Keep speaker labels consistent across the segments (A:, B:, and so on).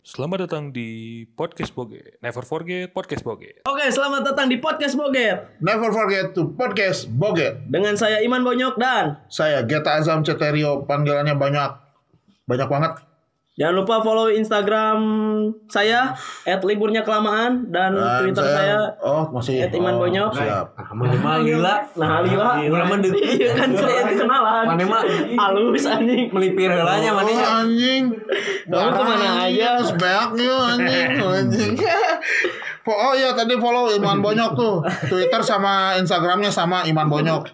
A: Selamat datang di Podcast Boge. Never forget Podcast Boge.
B: Oke, selamat datang di podcast Boget
C: Never forget to podcast Boget.
B: dengan saya Iman Bonyok dan
C: Saya Geta Azam Ceterio, panggilannya banyak. Banyak banget.
B: jangan lupa follow Instagram saya @liburnya kelamaan dan
C: Dan
B: Hmm, Twitter saya
C: oh masih
B: at Iman
C: oh,
B: Bonyok.
C: Siap.
D: Mana mah gila.
B: nah Alila.
D: Gila mah deut.
B: Iya kan saya itu kenalan.
D: Mana mah
B: halus anjing.
D: melipir ya. heulanya
C: Oh,
D: manehnya.
C: anjing.
B: Baru ya? kemana aja?
C: Sebanyak yuk anjing. anjing. Oh iya tadi follow Iman Bonyok tuh. Twitter sama Instagramnya sama Iman Bonyok.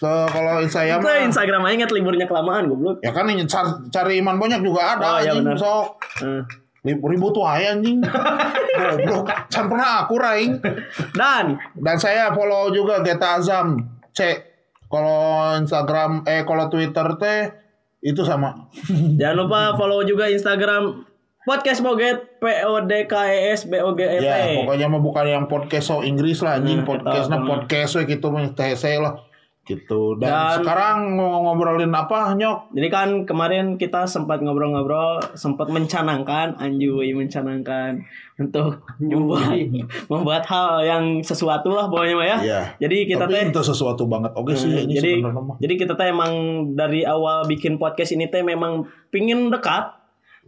C: So, kalau saya
B: Itu
C: mah-
B: Instagram aja at liburnya kelamaan goblok.
C: ya kan ini car- cari Iman Bonyok
B: Oh,
C: juga ada
B: iya
C: anjing.
B: benar.
C: Sok.
B: Nah.
C: Ribut tuh ay, anjing. Goblok. Can pernah aku raing.
B: Dan
C: Dan saya follow juga Geta Azam C. Kalau Instagram eh kalau Twitter teh itu sama.
B: jangan lupa follow juga Instagram podcast Boget P O D K E S B O G E T.
C: Ya, pokoknya mah bukan yang podcast so Inggris lah anjing,
B: Hmm,
C: podcastnya
B: kita-
C: podcast we gitu mah THC lah. Gitu. Dan,
B: Dan-
C: sekarang mau ngobrolin apa, Nyok?
B: Jadi kan kemarin kita sempat ngobrol-ngobrol, sempat mencanangkan, Anjuy mencanangkan untuk membuat, membuat hal yang sesuatu lah pokoknya Maya.
C: Iya.
B: Jadi Ah, kita
C: Tapi
B: teh Hmm,
C: itu sesuatu banget. Oke sih ini
B: jadi
C: sebenarnya mah.
B: jadi kita teh emang dari awal bikin podcast ini teh memang pingin dekat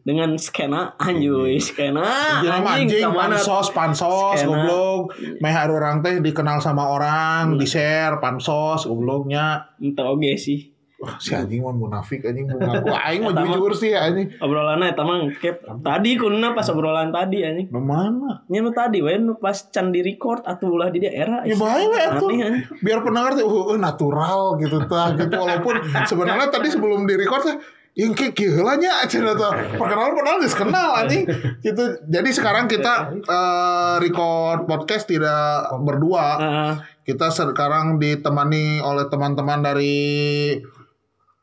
B: dengan skena anjuy skena
C: Jadi nama Iya. anjing,
B: kemana?
C: pansos, pansos,
B: Skena.
C: goblok. Meh ada orang teh dikenal sama orang, di-share, pansos, gobloknya.
B: Entah oge sih.
C: Wah, si anjing mah munafik anjing mau ngaku aing mah
B: Eta mah-
C: jujur sih anjing.
B: Obrolannya eta mah kep tadi kuna pas obrolan tadi anjing.
C: Di mana?
B: Nya nu tadi we nu pas can di record atuh ulah di daerah.
C: Ya bahaya we atuh.
B: Aneh, aneh.
C: Biar pendengar tuh "Uh, uh, natural gitu tah gitu walaupun sebenarnya tadi sebelum di record teh yang kayak gila nya aja tuh perkenalan perkenalan geus kenal anjing gitu jadi sekarang kita eh, record podcast tidak berdua
B: Heeh.
C: kita sekarang ditemani oleh teman-teman dari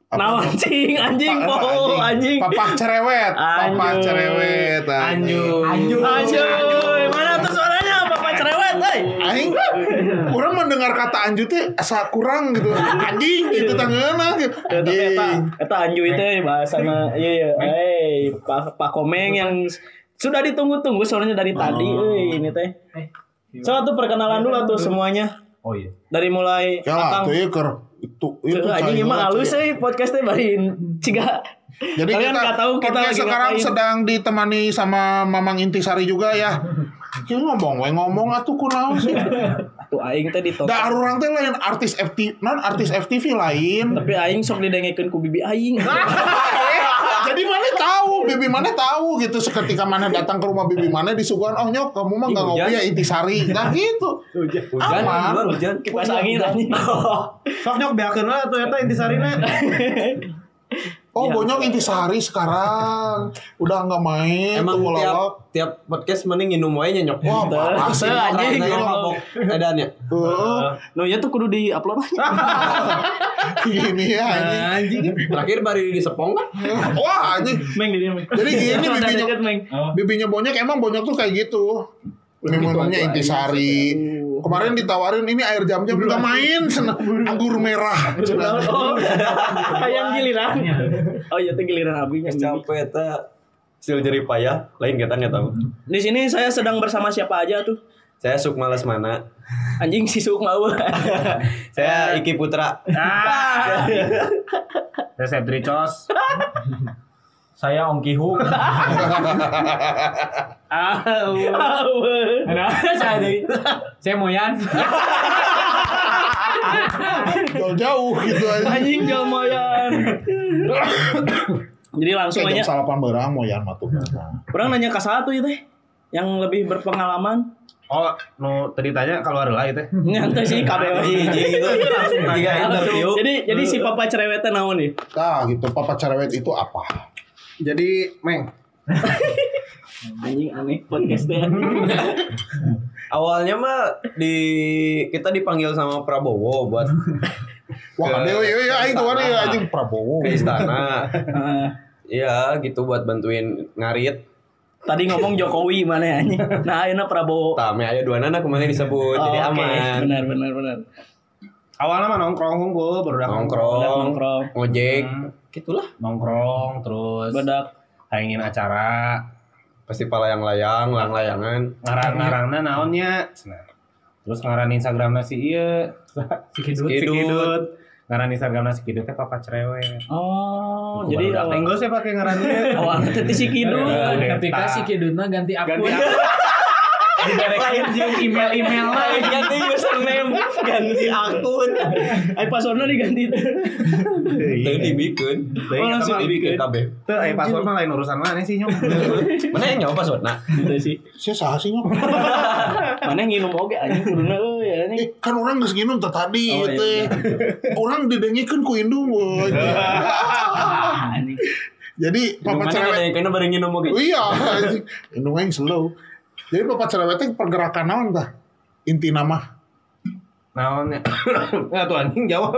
B: Nah, anjing, anjing,
C: Apa- apa,
B: poho, anjing.
C: Papah cerewet, papah
B: Anjing.
C: cerewet, anjing.
D: Anjur.
B: Anjuy, mana tuh suaranya Bapak cerewet, hei.
C: Aing kurang mendengar kata anjut teh asa kurang gitu anjing gitu tangeuna gitu.
B: Ya, tapi eta
C: anjing
B: eta anjuy teh bahasana iya iya hey, Pak Pak Komeng yang sudah ditunggu-tunggu suaranya dari tadi
C: Oh.
B: euy ini teh. So tuh perkenalan dulu tuh semuanya
D: Oh iya.
B: dari mulai
C: ya lah
B: Akang.
C: tuh ieu keur itu itu
B: Tuh, anjing
C: cai
B: emang
C: lah,
B: halus euy
C: cai.
B: podcastnya bari ciga.
C: jadi
B: Kalian
C: kita
B: nggak tahu kita
C: podcast
B: lagi
C: sekarang
B: ngapain.
C: sedang ditemani sama Mamang Intisari juga ya Kieu ngomong we ngomong atuh kunaon sih
B: Tuh aing teh ditolak.
C: da orang teh lain artis FT non artis FTV lain
B: Tapi aing sok didengekeun ku bibi aing.
C: Ah! jadi mana tahu bibi mana tahu gitu seketika mana datang ke rumah bibi mana disuguhan oh nyok kamu mah nggak
D: Ih,
C: ngopi
D: hujan.
C: ya intisari nah gitu
D: Hujan. Hujan.
C: Aman.
D: di luar Hujan.
B: Kipas angin anjing.
D: Sok nyok beakeun lah atuh eta intisarina.
C: Oh,
B: Iya.
C: Bonyok Intisari sekarang udah nggak main
D: Emang
C: tuh
D: tiap
C: lolok.
D: tiap podcast mending nginum wae nya nyok.
C: Wah, parah sih.
B: Teu, anjing.
D: Karena yang mabok edannya.
C: Heeh.
B: No ya tuh kudu di-upload
C: Ah!
B: lah.
C: gini ya anjing.
D: Anjing. Terakhir baru di Sepong kan?
C: Wah, anjing.
B: Meng di dia, Meng.
C: Jadi gini
B: Udah
C: bibinya-
B: deket, Meng.
C: Bibinya Bonyok emang Bonyok tuh kayak gitu. Minumnya Intisari. Kemarin ditawarin ini air jam-jam nggak main sena- anggur merah.
B: Oh, kayak giliran. Oh iya, itu giliran abinya.
D: Capek eta. Sil jerih payah, lain kita nggak tahu.
B: Di sini saya sedang bersama siapa aja tuh?
D: Saya Suk Malas Mana.
B: Anjing si Suk mau.
D: Saya Iki Putra.
E: Saya Setricos. Saya Ongki Huk. saya dari saya Moyan.
C: Jauh-jauh gitu anjing.
B: Anjing Jalmoyan. Jadi langsung
C: Kayak jam
B: aja.
C: salapan barang mau ya matuh.
B: Orang nanya ke satu itu teh. Yang lebih berpengalaman.
E: Oh, nu tadi tanya kalau ada lah itu.
B: Nyantai sih
D: Ji,
B: KBW.
D: ji gitu. Tiga interview.
B: Jadi jadi si papa cerewetnya naon nih?
C: Nah, gitu papa cerewet itu apa?
E: Jadi, Meng,
B: Anjing aneh ya. podcastnya.
D: Awalnya mah di kita dipanggil sama Prabowo buat
C: Wah,
D: Ke-
C: aduh, iya, iya, aing tuh iya, anjing Prabowo.
D: ke istana.
B: Ah.
D: Iya, gitu buat bantuin ngarit.
B: Tadi ngomong Jokowi mana anjing. Nah, ayeuna Prabowo.
D: Tame aya dua nana kemarin disebut,
B: Oh,
D: jadi
B: oke.
D: aman.
B: Benar benar benar.
E: awalnya mah nongkrong unggul, baru
B: Bedak
D: Nongkrong,
B: nongkrong.
D: ngojek,
E: Hmm.
D: gitulah.
E: nongkrong terus
B: Bedak
E: hayangin acara.
D: pasti pala yang layang lang layangan
E: ngarang ngarangnya naonnya Cenah. Nah. terus ngaran instagramnya si iya
F: Si Kidut.
E: si kidut ngaran instagramnya si kidut teh papa cerewet
B: Oh,
D: Bukan
B: jadi
D: udah
B: awal-
E: enggak sih pakai ngarannya
B: awalnya tadi si Kidul.
E: Eh, Eta.
F: Ketika si Kidut mah ganti akun.
E: Ganti
F: Diberekin jeung email-email lain.
B: ganti username, ganti akun. Ay passwordnya diganti.
D: itu
E: Tadi
D: dibikin
E: Oh, langsung
D: dibikin
E: dibikin.
D: kabeh
E: Tuh, eh password mah lain urusan mana sih nyok?
D: mana yang nyawa password nah
B: Gitu sih.
C: Saya sah sih Nyok.
B: Mana nginum oge anjing kuduna euy anjing.
C: Eh, kan orang geus nginum teh
B: Oh,
C: tadi ieu teh. Orang didengikeun ku indung. woy.
B: Ah, anjing.
C: Jadi
D: Minum
C: papa
D: mana
C: cerewet.
D: ada yang kena barengin ngomong gitu
C: Iya, anjing. indung aing slow. Jadi papa cerewet teh pergerakan naon tah? Inti nama.
E: Naonnya. Enggak tuh anjing jawab.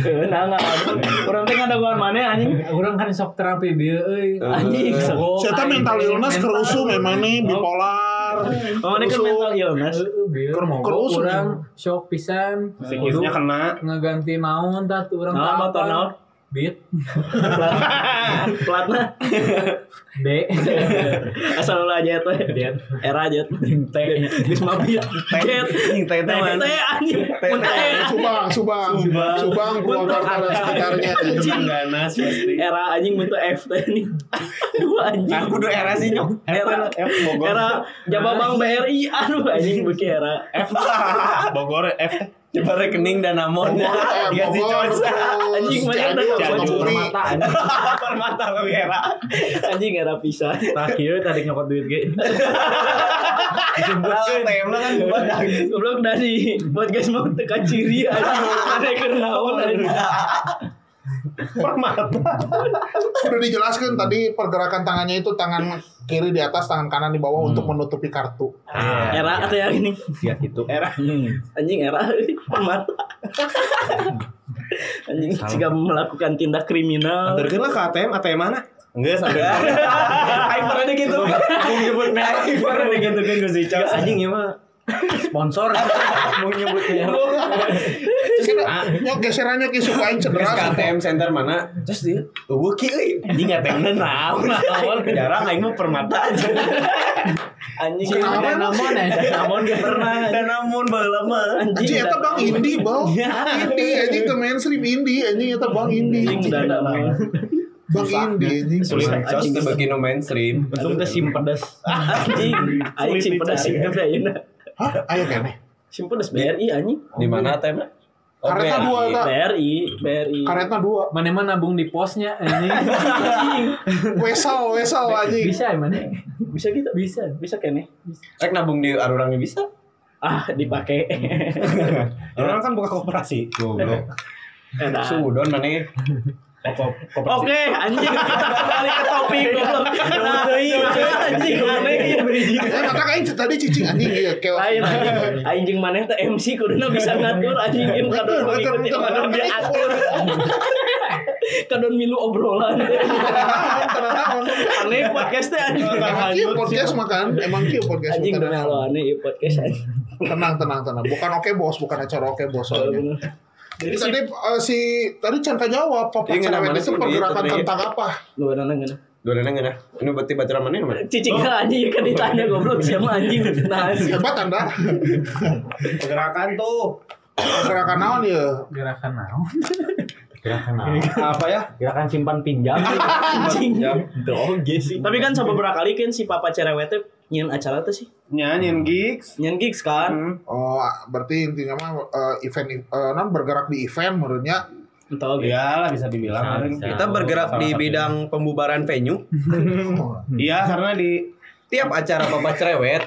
B: Heuh, Nah, enggak Urang teh ngadaguan mana anjing?
F: Urang kan sok terapi dia euy.
B: Anjing.
F: Oh,
C: Saya teh mental illness keur usum emang nih bipolar.
B: Mana kan
C: Usum.
B: mental illness.
F: Keur
C: Keur- keur usum.
F: urang shock pisan.
E: Sikisnya kena.
F: ngeganti naon tah tuh urang
B: Nah,
F: teu
B: motor
F: apa.
B: naon?
F: Beat
B: Platna
F: D
B: asal ulah aja tuh. Era aja tuh. Teh. Geus mabit. Jet.
E: Anjing teh
B: Teh
E: teh mana?
B: teh, anjing. Mun teh.
C: Subang, Subang,
B: Subang.
C: Subang, Purwakarta dan sekitarnya.
B: Anjing. Eh,
E: Ganas pasti.
B: Era anjing bentuk F teh nih. Dua anjing.
E: Nah,
F: Nah,
D: aku udah era sih nyok
B: Era
E: F Bogor.
B: era Jababang BRI aduh anjing beki era
E: F Bogor F teh.
D: coba rekening dan namon
C: Bogor,
D: Diganti
C: Bogor,
D: coy.
C: terus
B: Anjing, banyak
C: Cianjur,
B: dah.
C: Sukabumi.
E: Cianjur,
F: permata anjing.
D: permata lebih era
B: anjing era pisah
E: Tah kieu tadi nyokot duit ge.
D: Tembla kan buat
B: goblok dari podcast mau teka ciri anjing ada kernaon anjing
C: Udah dijelaskan tadi pergerakan tangannya itu tangan kiri di atas, tangan kanan di bawah untuk menutupi kartu.
F: Ah,
B: era atau yang ini
E: Ya gitu.
B: era anjing era mata anjing jika melakukan tindak kriminal
E: Antarkeun lah ke ATM, ATM mana? Enggak sampai.
B: Aing pernah deh gitu
E: Aku nyebut merek. Pernah digitukeun ku si Cok. Anjing ieu mah
F: sponsor
E: mau nyebut merek.
C: Terus kita nyok geserannya ki suka aing
D: Terus ke
C: cedera.
D: ATM center mana? Terus dia, tubuh kiri. Ini
F: ya,
D: nggak tenda naon. Naon jarang, aing mah permata aja.
B: anjing
F: dan namon anjing.
B: namun gak pernah
D: Dan namun baheula mah.
C: Anjing eta
B: dan-
C: bang indie, Bang. Indie anjing ke mainstream indie anjing eta bang indie.
B: anjing dan namun
C: Bang indie anjing.
D: Sulit
B: Anjing,
D: anjing bagi no mainstream.
E: Untung teh sim pedas.
B: anjing anjing simpedes singkat ya ini
C: Hah, aya kene.
B: simpedes BRI anjing
D: Di mana ATM? Oh,
C: Kareta
D: BRI.
C: dua, tak?
B: BRI BRI
C: Karetna dua.
F: mana mah nabung di posnya anjing.
B: anjing
C: Wesel, wesel anjing.
F: bisa mana
B: bisa gitu bisa bisa kene
D: Rek nabung di arurangnya bisa.
B: ah dipakai
E: Orang kan buka koperasi.
D: Goblok.
B: Enak.
D: Sudon mana? ya?
E: Kop- Koperasi.
B: Oke, anjing kita kembali ke topik goblok. Nah, anjing aneh ieu.
C: Eh, mata aing tadi cicing anjing Iya, ieu
B: Lain
C: keok.
B: anjing. anjing maneh teh MC kuduna bisa ngatur anjing ieu kadon
C: Betul,
B: mengikuti
C: betul,
B: kadon
C: betul.
B: dia atur. Kadon milu obrolan. Aneh podcast teh anjing.
C: Emang kieu podcast makan, emang kieu podcast
B: Anjing
C: makan.
B: benar lo aneh ieu podcast anjing.
C: Tenang, tenang, tenang. Bukan oke bos, bukan acara oke bos
B: Kalau
C: soalnya.
B: bener.
C: Jadi tadi eh, si tadi Chan jawab papa cerewet
D: Iya, namanya
C: itu
D: sendiri,
C: pergerakan
D: tadi.
C: tentang apa?
B: Lu benar enggak?
D: Dua dana nggak? ya. Ini berarti bacaan mana? mana?
B: Cicing anjing kan ditanya goblok siapa anjing nah anjing.
C: Hebat anda.
E: Pergerakan tuh.
C: Pergerakan naon ya?
F: gerakan naon
E: Apa ya?
F: gerakan simpan pinjam
B: anjing.
F: doge sih
B: Tapi kan beberapa kali kan si Papa Cerewet teh nyian acara tuh sih.
E: Nyanyiin gigs.
B: Nyian gigs kan.
E: Hmm.
C: Oh, berarti intinya mah eh, event eh, non bergerak di event menurutnya.
B: Entah oke.
E: Iyalah bisa dibilang. Arin.
D: Kita bergerak di bidang pembubaran venue.
E: Iya karena di
D: Tiap acara babat cerewet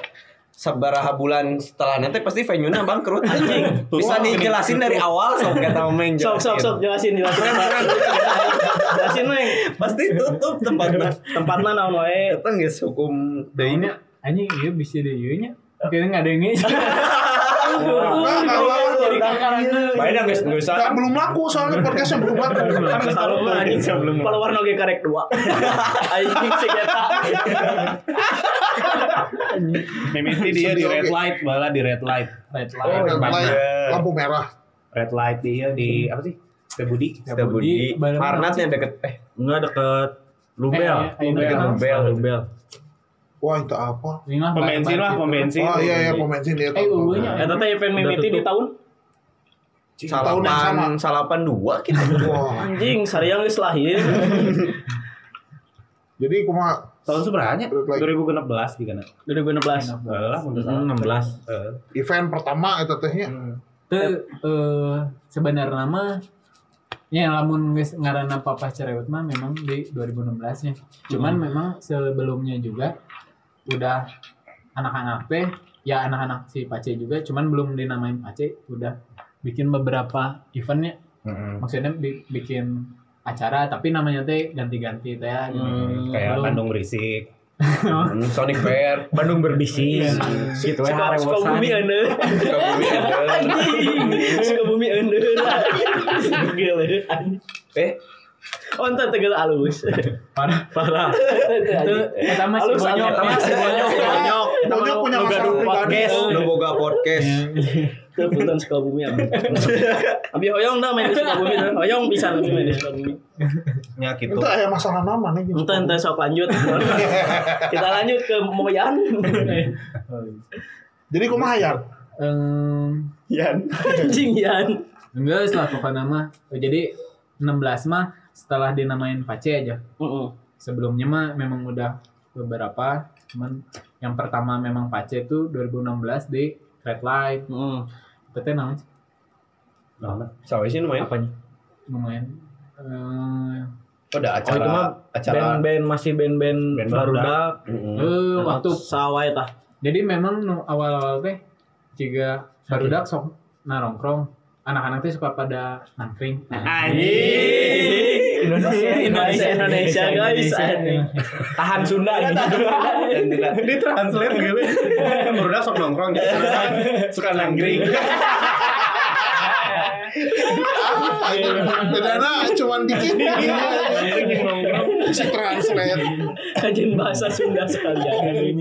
D: sabaraha bulan setelah nanti pasti venue-nya bangkrut anjing. Bisa dijelasin dari awal sok kata Meng.
B: Sok sok sok jelasin jelasin. jelasin Meng.
D: Pasti tutup tempatnya.
B: Tempatnya naon wae.
D: Eta geus hukum
F: Nah, ini anjing iya bisa deh iya nya kira nggak ada yang ini
C: Enggak, enggak,
B: Jadi
C: enggak.
F: Iya.
D: Baik dah geus geus usah.
C: Enggak, belum laku soalnya podcastnya belum laku.
B: Kalau gue anjing kalau warna gue karek dua. Anjing si kita.
E: mimiti dia di red light malah di red light.
F: red
C: Oh,
F: light
C: udah mulai. lampu merah.
E: Red light dia di apa sih? Teh Budi.
D: Kita budi
F: Balapan
D: Parnat yang deket eh
G: Enggak deket
F: Eh,
E: iya.
G: Lubel.
F: eh, eh,
G: Lubel.
F: kenapa?
G: Lubel.
C: Wah, itu apa?
F: Ini mah
E: Pembensin lah,
F: barbar-
E: pembensin.
C: Oh iya iya pemensin dia.
F: Eh, ungunya.
B: Eta teh event mimiti di tahun
C: tahun yang sama.
D: Salapan salapan dua kita.
C: Wah,
B: anjing sariang geus lahir.
C: jadi kuma
E: Tahun seberapa? 2016 di kana.
B: 2016.
E: Lah, mundur salah.
D: 16.
E: Heeh.
C: event pertama itu ya. tehnya.
F: Teu eh sebenarnya mah ya lamun geus ngaranna Papa Cerewet mah memang di 2016 nya. ya. Cuman
E: Hmm.
F: memang sebelumnya juga udah anak-anak teh ya anak-anak si Pace juga cuman belum dinamain Pace udah bikin beberapa eventnya
E: Heeh.
F: maksudnya bi- bikin acara tapi namanya teh ganti-ganti teh ya, gitu.
E: Hmm. Kayak
F: Belum.
E: Bandung berisik.
D: Oh. Sonic Fair.
G: Bandung berbisik.
F: Iya.
G: Gitu ya,
B: Suka suka
G: harewosan.
B: bumi euneun.
D: Suka bumi ada.
B: Suka bumi euneun. Geuleuh.
D: Eh,
B: Oh, entah tegel alus.
F: parah
B: Parah.
F: itu pertama si
B: Alus,
F: bonyok
B: alus.
F: ya.
D: si bonyok, si
C: Oh,
D: bonyok.
C: Bonyok punya masalah pribadi.
D: Podcast, lu boga podcast.
B: Teu punten suka bumi abi. Abi hoyong dah main di suka bumi. Hoyong pisan abi main di suka bumi.
E: Ya gitu.
C: Itu ayah masalah nama nih. gitu.
B: Entah entah sok lanjut. Kita lanjut ke Moyan.
C: Jadi kuma hayar.
F: Em,
B: Yan. Anjing Yan.
F: Enggak setelah pokoknya mah. Oh, jadi 16 mah setelah dinamain Pace aja.
B: Heeh.
F: Sebelumnya mah memang udah beberapa. Cuman yang pertama memang Pace itu 2016 di Red Light.
B: Heeh.
F: Itu teh namanya sih,
D: Sawi sih lumayan. Apanya?
F: lumayan. Eh,
E: Udah
D: Oh, itu mah
E: acara acara
B: Band-band masih band-band
E: Band
B: baru
E: barudak.
B: dah.
F: eh, waktu.
B: sawah tah.
F: Jadi memang nu awal-awal teh jika barudak sok narongkrong anak-anak teh suka pada nangkring.
B: Indonesia, Indonesia, Indonesia, guys. Anjing.
G: Tahan Sunda ini.
E: Ini translate gitu. Barudak sok nongkrong jadi ternyata suka nangkring.
C: Bedana nah, cuman dikit.
E: Iya.
C: Si translate.
B: Kajian bahasa Sunda
E: Iya.
B: sekalian.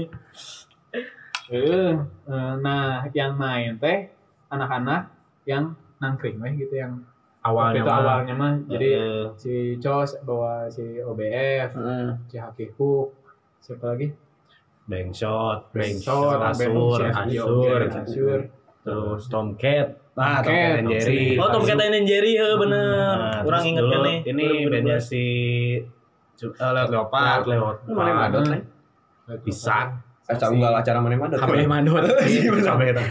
F: Eh, eh, nah yang main teh anak-anak yang nangkring weh gitu yang
G: Awalnya
F: waktu itu
G: mah.
F: awalnya mah jadi
E: eh,
F: si Cos bawa si OBF, si Hakikuk, siapa lagi?
G: Bengshot,
F: Bengshot,
G: Bengshot, Asur,
F: Bengshot, Asur,
G: Asur,
F: Asur.
G: terus Tomcat.
E: Nah,
F: Oke,
E: Tom and Jerry.
B: Oh, Tom Kata and Jerry, he,
E: Nah,
B: bener. Kurang
E: terus
B: inget
E: dulu
B: kan nih.
E: Ini bandnya si Ju- eh, Leopard.
G: Pat, Leot.
E: Lu mana yang madot,
G: eh?
E: Neng?
G: Pisan.
D: Acara enggak lah, acara mana mana.
G: Kabeh madot.
E: Iya, gitu, Sampai itu.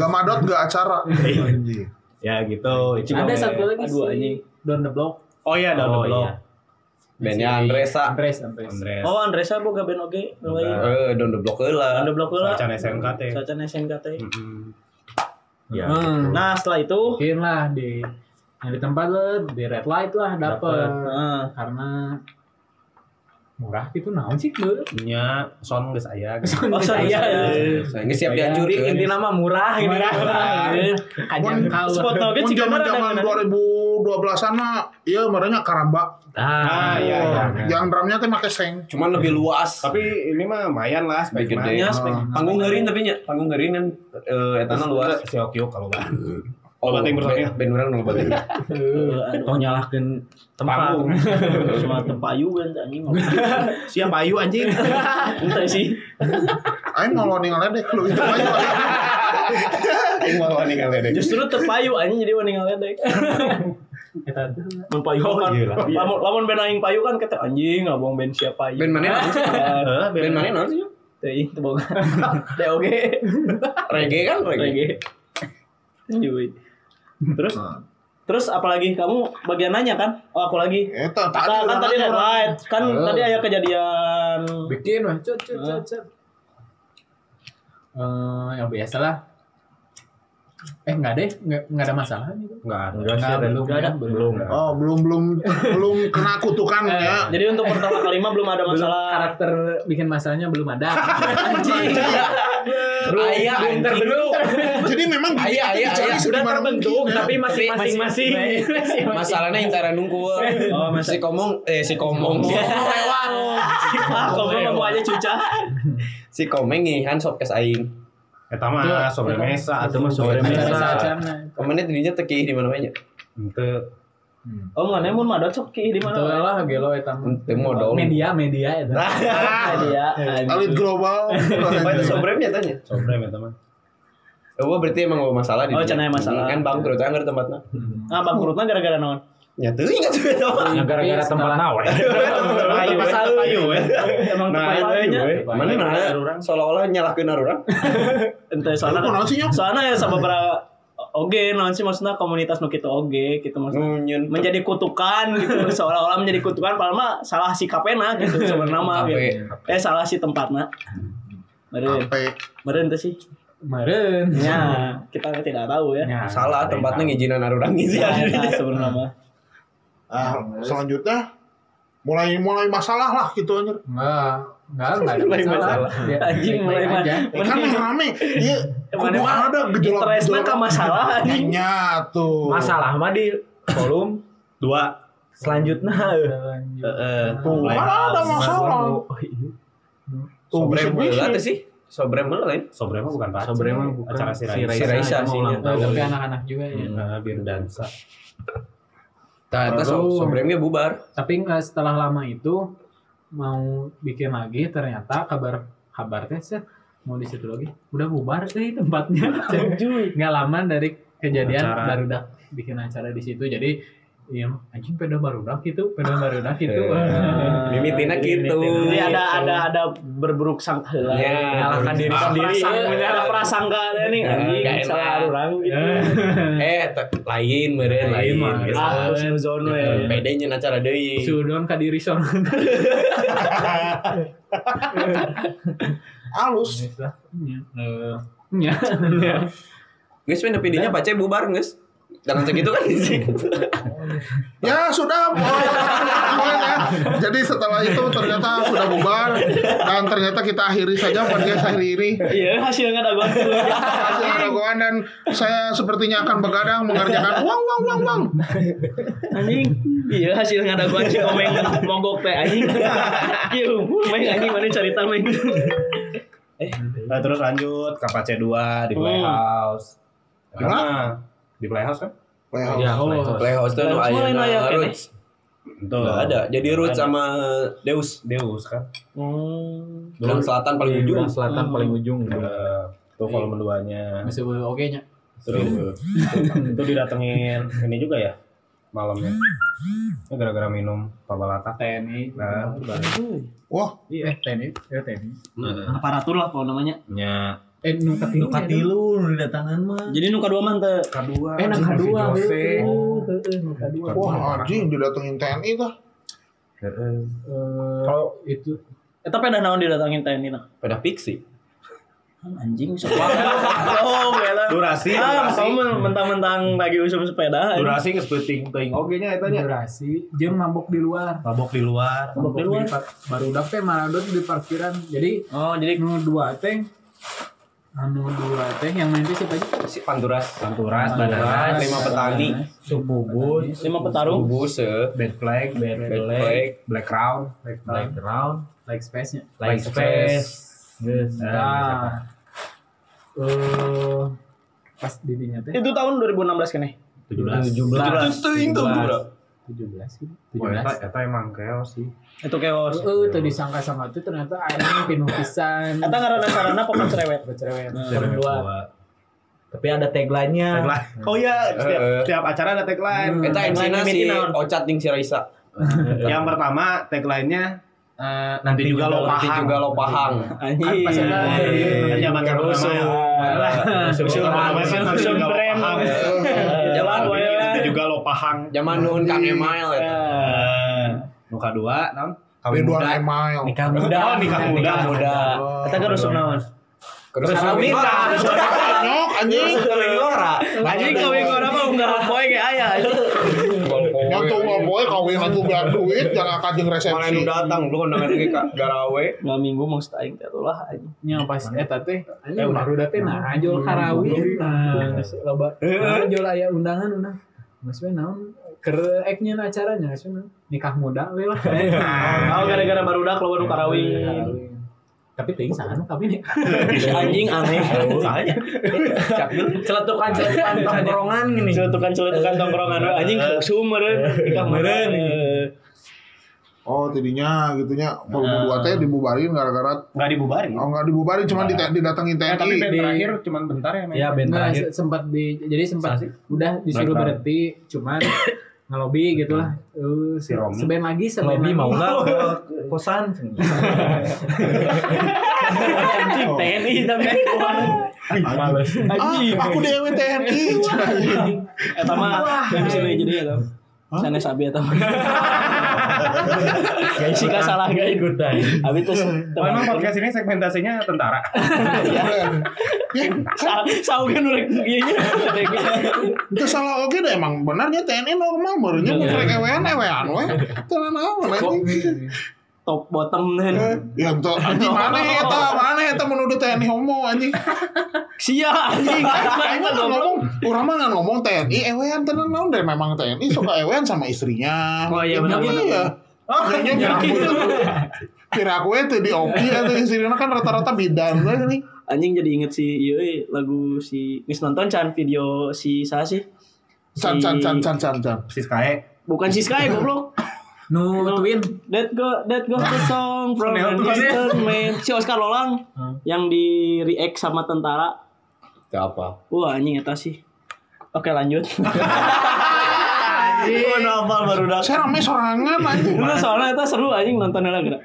C: Gak madot gak acara. Anjing.
E: Ya gitu. itu
F: Ada
E: namanya.
F: satu lagi
B: Aduh,
F: si
B: anjing.
F: Don the Block,
E: Oh iya, Down the
G: Oh,
E: Block.
G: iya.
D: Bandnya Andresa.
F: Andres, Andres.
E: Andres.
B: Oh, Andresa boga band oge. mulai.
D: Eh, Don the Block heula.
B: Ada blok heula.
E: Acara SMK teh.
B: Sacan SNK teh.
E: Mm-mm. Mm-hmm.
G: Ya.
F: Hmm,
B: Nah, setelah itu,
F: mungkin lah di yang di tempat lah, di red light lah dapet
B: nah,
F: karena murah gitu naon sih gue
E: Punya sound geus aya. gitu.
B: oh
D: Iya,
B: saya
D: Geus siap dihancurin
G: Inti
D: intinya.
G: nama murah gitu.
F: kajang kau
B: spot oge
C: Mun
B: cikan ada
C: zaman-zaman 2012-an mah ieu merenya karamba.
E: Ah, iya, iya.
C: Oh, Yang drumnya teh make seng.
D: Cuman lebih luas.
E: Tapi ini mah lumayan lah spek
D: Lebih
E: mah.
B: Iya,
D: gede.
C: Ah.
D: Panggung ngeurin tapi nya, panggung ngeurin kan eh etana luas.
E: Si Okyo kalau enggak.
D: Oh,
E: Banting bersama.
B: ya?
D: Ben urang nu banting.
B: Iya,
G: Tong nyalahkeun tempat.
E: Panggung.
B: Oh, Cuma tempayuan anjing.
E: Siapa Ayu anjing?
B: Entah sih.
C: Aing mau loning ngeledek lu itu mah.
E: Aing mau nih kalian.
B: Justru terpayu anjing jadi wani ngaledek. Mun payu kan.
E: iya lah.
B: Lamun lamun ben aing payu kan kata anjing ngabong ben siapa Ah. payu.
D: Ben mana naon sih?
E: Heeh,
D: Ben mana naon sih?
B: Teh itu boga. Teh oge.
D: Reggae kan reggae.
B: Oge. Anjing. Terus Terus apalagi kamu bagian nanya kan? Oh aku lagi.
C: Eta tadi
B: Kan, kan
C: udah
B: tadi
C: nanya.
B: right. Kan
F: Oh.
B: tadi ada kejadian
F: bikin mah cut cut cut cut Ah. Eh, yang biasa lah eh nggak deh nggak nggak ada masalah gitu
E: Enggak ada.
G: Enggak sih, ada.
F: belum ada belum
C: Oh, belum belum belum kena kutukan ya.
B: Jadi untuk pertama kelima belum ada
F: belum
B: masalah.
F: karakter bikin masalahnya belum ada
B: anjing.
D: Aya Ah, iya, anjing.
C: Jadi memang
D: Aya aya aya.
C: sudah terbentuk
G: Tapi masih masing-masing.
D: Masalahnya intara nungkul.
B: Oh,
D: Si komong eh si komong.
B: Ah, kok gue mau aja cuca.
D: Si komeng ngihan sobkes aing.
E: Eta mah sobremesa atau mah
F: acara
E: sobremesa.
F: acaranya
D: Komennya tadinya tekih di mana-mana.
E: Ente
B: Oh, mana mun madot sok ki di
F: Itu
B: mana?
F: lah gelo eta mah.
D: Itu modal.
F: Media media ya, eta.
B: Ah, dia.
C: Elit global.
D: Apa Nah, itu sobremnya tanya?
G: Sobre ya teman.
D: Eh, gua berarti emang gua masalah di
B: Oh,
D: dunia.
B: cenah masalah.
D: Kan bangkrut anggar tempatnya.
B: Ah, bangkrutna gara-gara naon?
D: Ya tuh ingat tuh ya
G: Ya gara-gara tempat nawe.
E: eh.
B: Ayo,
E: Ayo, we.
B: Emang tempat
E: Nah, ayo,
B: lainnya.
E: we.
D: Mana mana seolah-olah nyalahkeun orang.
B: Ente
C: Lu
B: soalnya.
C: kenapa sih nyok?
B: Soalnya ya sababaraha oge naon sih maksudnya komunitas nu kitu oge gitu maksudnya.
D: Nunyeun
B: menjadi kutukan gitu seolah-olah menjadi kutukan padahal mah salah sikapena gitu sebenarnya mah
D: Tapi-
B: gitu. eh salah si tempatna meren
C: Sampai
B: meren tuh sih
F: Meren.
B: ya kita tidak tahu ya
F: Ya,
D: salah tempatnya ngijinan arurang ngisi
G: Iya,
B: ya,
D: aja.
B: ya sebenarnya mah
C: ah, selanjutnya mulai mulai masalah lah gitu anjir.
F: Enggak, enggak, enggak
D: Mulai
F: ada masalah.
D: masalah.
F: Ya,
B: Anjing,
F: baik-baik
B: mulai
F: aja.
C: Eh, kan Iya, rame dia
B: Mana
C: kudu ada gejolak
B: interestna ka masalah anjing
C: Nya tuh.
G: Masalah mah di kolom dua
B: Nah.
G: selanjutnya.
D: eh,
F: Lanjut.
G: Heeh.
C: Tuh, kan ada masalah. Tuh,
D: Sobrem
C: bisik-bisik.
D: heula teh sih. Sobrem heula lain.
G: Sobre mah bukan pacar.
E: Sobre mah bukan.
G: acara si Raisa.
D: Si Raisa
G: Itu mau ulang
D: sih, Hmm. ya.
F: Nah,
G: tahun.
F: tapi anak-anak juga ya.
G: Nah, biar dansa.
D: Tah eta Nah, so-
F: Aduh.
D: sobremnya bubar.
F: Tapi nggak setelah lama itu mau bikin lagi ternyata kabar kabar teh sih mau di situ lagi udah bubar sih tempatnya nggak lama dari kejadian
G: Acara.
F: baru udah bikin acara di situ jadi iya anjing peda baru gitu peda baru gitu
G: Ah,
D: Mimitina
G: iya,
D: gitu.
B: jadi ada ada ada berburuk sangka lah
D: Ya,
G: Menyalahkan diri Iya. sendiri. Iya.
B: ada prasangka ada nih anjing
D: Nggak enak.
B: salah orang gitu
D: Eh, te- lain meureun lain.
G: Lain mah.
D: Geus Nah,
B: ah
D: lain.
B: husnuzon we
G: Iya.
D: Bedanya acara deui.
F: sudon kadiri sorangan.
C: halus.
F: Nya. Eh, nya.
D: Guys, men PD-nya pace bubar, guys. Jangan segitu kan sih.
C: Ya sudah mulai. mulai ya. Jadi setelah itu ternyata sudah bubar dan ternyata kita akhiri saja podcast hari ini.
B: iya hasilnya ada gua
C: Hasil keraguan dan saya sepertinya akan begadang mengerjakan uang uang uang uang.
B: anjing iya hasil ngadaguan si omeng mogok teh anjing iya main anjing mana cerita main
E: Nah, terus lanjut ke Pace 2 di
B: Hmm.
E: Playhouse.
C: Di mana?
E: Nah, Di Playhouse kan?
C: Well,
F: Iya.
G: Ya,
D: Playhouse tuh anu
B: Playhouse mah lain
D: ayeuna
B: aya kene.
D: Roots.
E: Betul.
D: Nggak ada. Jadi Roots
E: Nggak ada.
D: sama Deus.
E: Deus kan.
B: Hmm.
D: Dalam selatan paling ujung.
G: selatan paling ujung.
E: Eh, Tuh volume 2-nya.
F: masih boleh oke nya
E: Terus itu didatengin ini juga ya malamnya. Ini gara-gara minum pabalata.
F: TNI
E: Nah, itu baru.
C: wah
F: eh TNI ya TNI
B: aparatur lah kalau namanya
E: Nya
F: eh nu katilu
G: lu datangan mah.
B: jadi nuka dua mah teh
E: kedua.
F: eh nang kadua
E: Si Jose.
F: heuh, heuh, nu kadua
C: wah anjing didatengin TNI tuh.
E: Heeh.
F: Eh,
E: Kalau-
F: itu
B: Eta peda naon didatangin TNI nah.
D: Hmm. Pada fiksi.
B: Anjing sok Oh, bela.
E: Durasi,
B: Ah,
E: durasi.
B: kamu men- mentang-mentang lagi usum sepeda. eh. anjing.
E: Durasi ngespeting teuing
D: Oh,
E: oge nya eta nya.
F: durasi jeung mabok di luar
E: Mabok di luar.
F: mabok di luar baru udah teh maradot di parkiran jadi
B: Oh, jadi
F: nu dua teh anu dua teh yang main teh siapa aja
D: Si Panturas.
E: Panturas,
D: Panturas, lima petani.
E: Sububun,
B: lima petarung.
D: Bubus, eh.
E: Bad Flag, Bad
D: Bad Flag.
E: Black Crown,
G: Background,
F: like space nya
E: Black Space.
G: Geus.
F: nah eh pas didinya teh
B: Itu tahun 2016 kene.
E: 17.
D: 17. Itu teuing tuh, Bro.
F: 17 gitu
E: Oh, eta
F: 17
E: eta emang keos sih.
B: Itu keos.
F: Heeh, tadi sangka-sangka tuh ternyata airnya pinu pisan.
B: Eta ngarana sarana pokok cerewet.
F: Bercerewet.
E: Cewek
F: Kedua.
E: tua.
G: Tapi ada tagline-nya.
E: Tagline. Oh iya, setiap,
D: Eh, Hmm. eh.
E: setiap acara ada tagline.
D: Eta
B: Yang
D: MC-na
B: lain
D: si
B: mimiti naon?
D: Ocat jeung si Raisa.
E: Yang pertama tagline-nya eh, nanti
F: Ya,
E: juga lo
D: Nanti
E: paham.
D: juga lo pahang.
F: Kan
B: Anjing.
F: pas ada
E: Kan zaman kamu
D: Rusuh.
E: Usul
D: Rusuh.
E: namanya kan nanti
B: Usul
E: juga lo
B: brand.
E: paham.
B: Jalan
D: Jalan
B: wae
E: Ini
B: lah.
E: Nanti juga lo paham.
D: Zaman nuhun Kang ya. Email
E: Iya.
D: eta.
E: Eh, Nuka dua, non?
C: Kawin dua mile.
G: Nikah muda.
E: Oh, nikah muda.
D: Nikah muda.
E: Oh,
B: Eta kan
E: iya.
B: rusuh naon?
D: Terus Wira.
C: Nyok anjing.
B: Anjing kawin gua apa enggak poe ge aya.
C: Nyok tuh nggak boleh kawin aku biar duit jangan kajeng
D: Mana
C: resepsi.
D: nu datang lu kondangan ge ka Garawe.
B: Enggak minggu mau aing teh lah anjing.
F: nya pas eta teh aya udah udah teh nah ajol karawin nah loba Nah, ajol aya undangan undangan Mas we naon keur eknya na acaranya Mas we naon nikah muda we lah. Nah,
B: Oh, gara-gara barudak loba nu karawin.
F: Karawin. tapi teuing saha nu kawin ya
D: Anjing aneh. Soalnya
G: Celetukan celetukan tongkrongan gini.
B: Celetukan-celetukan tongkrongan we, anjing eh. sumber nikah meureun.
C: Oh, tadinya gitunya volume dua teh dibubarin gara-gara
E: Enggak dibubarin.
C: oh nggak dibubarin cuma dite- didatengin
E: Eh, tapi band
C: TNI.
E: terakhir cuman bentar ya main.
G: Ya band
F: nah
G: terakhir.
F: se- sempat di jadi sempat
G: Salah sih.
F: udah disuruh
E: Black
F: berhenti cuman ngelobi gitu lah Eh,
E: Si Romi.
F: seband lagi seband
G: Lobby
F: lagi.
G: mau nggak ke kosan?
B: Anjing TNI eh. tapi
E: Males.
C: Ah, aku dewe TNI.
B: eta mah Eh, ah. yang bisa we jadi eta. Sanes abi eta mah. Guys, sih salah guys.
G: Ikutan.
B: Abi terus
E: Oh, emang podcast ini segmentasinya tentara.
C: Ya,
B: saugeun urang ieu nya.
C: Itu salah oke deh emang ya, benarnya TNI normal barunya mau trek ewean ewean we. Telan naon anjing.
B: Top bottom
C: Eh,
B: nih.
C: Ya entar anjing mana eta mana eta menuduh TNI homo anjing.
B: Sia anjing.
C: Aing mah nggak ngomong, urang mah nggak ngomong TNI ewean tenan naon deh memang TNI suka ewean sama istrinya.
B: Oh, iya,
C: Mungkin
B: benar-benar.
C: iya.
E: Oh,
C: Kayaknya kira aku itu kira aku itu di Oki atau istrinya kan rata-rata bidan lah ini.
B: Anjing jadi inget si ieu eh, lagu si geus nonton can video si saya sih.
C: Can can can can can can.
E: Si Skae.
B: Bukan si Sky goblok.
F: nu
B: No.
F: twin
B: That go that goes the song from an
E: Sunil tuh kan ya.
B: Eastern man. Si Oscar Lolang yang di react sama tentara.
D: Gak apa.
B: Wah anjing eta sih. Oke lanjut. Gua nafal baru dah.
C: Saya rame sorangan anjing.
B: Enggak soalnya eta seru anjing nontonnya lah gerak.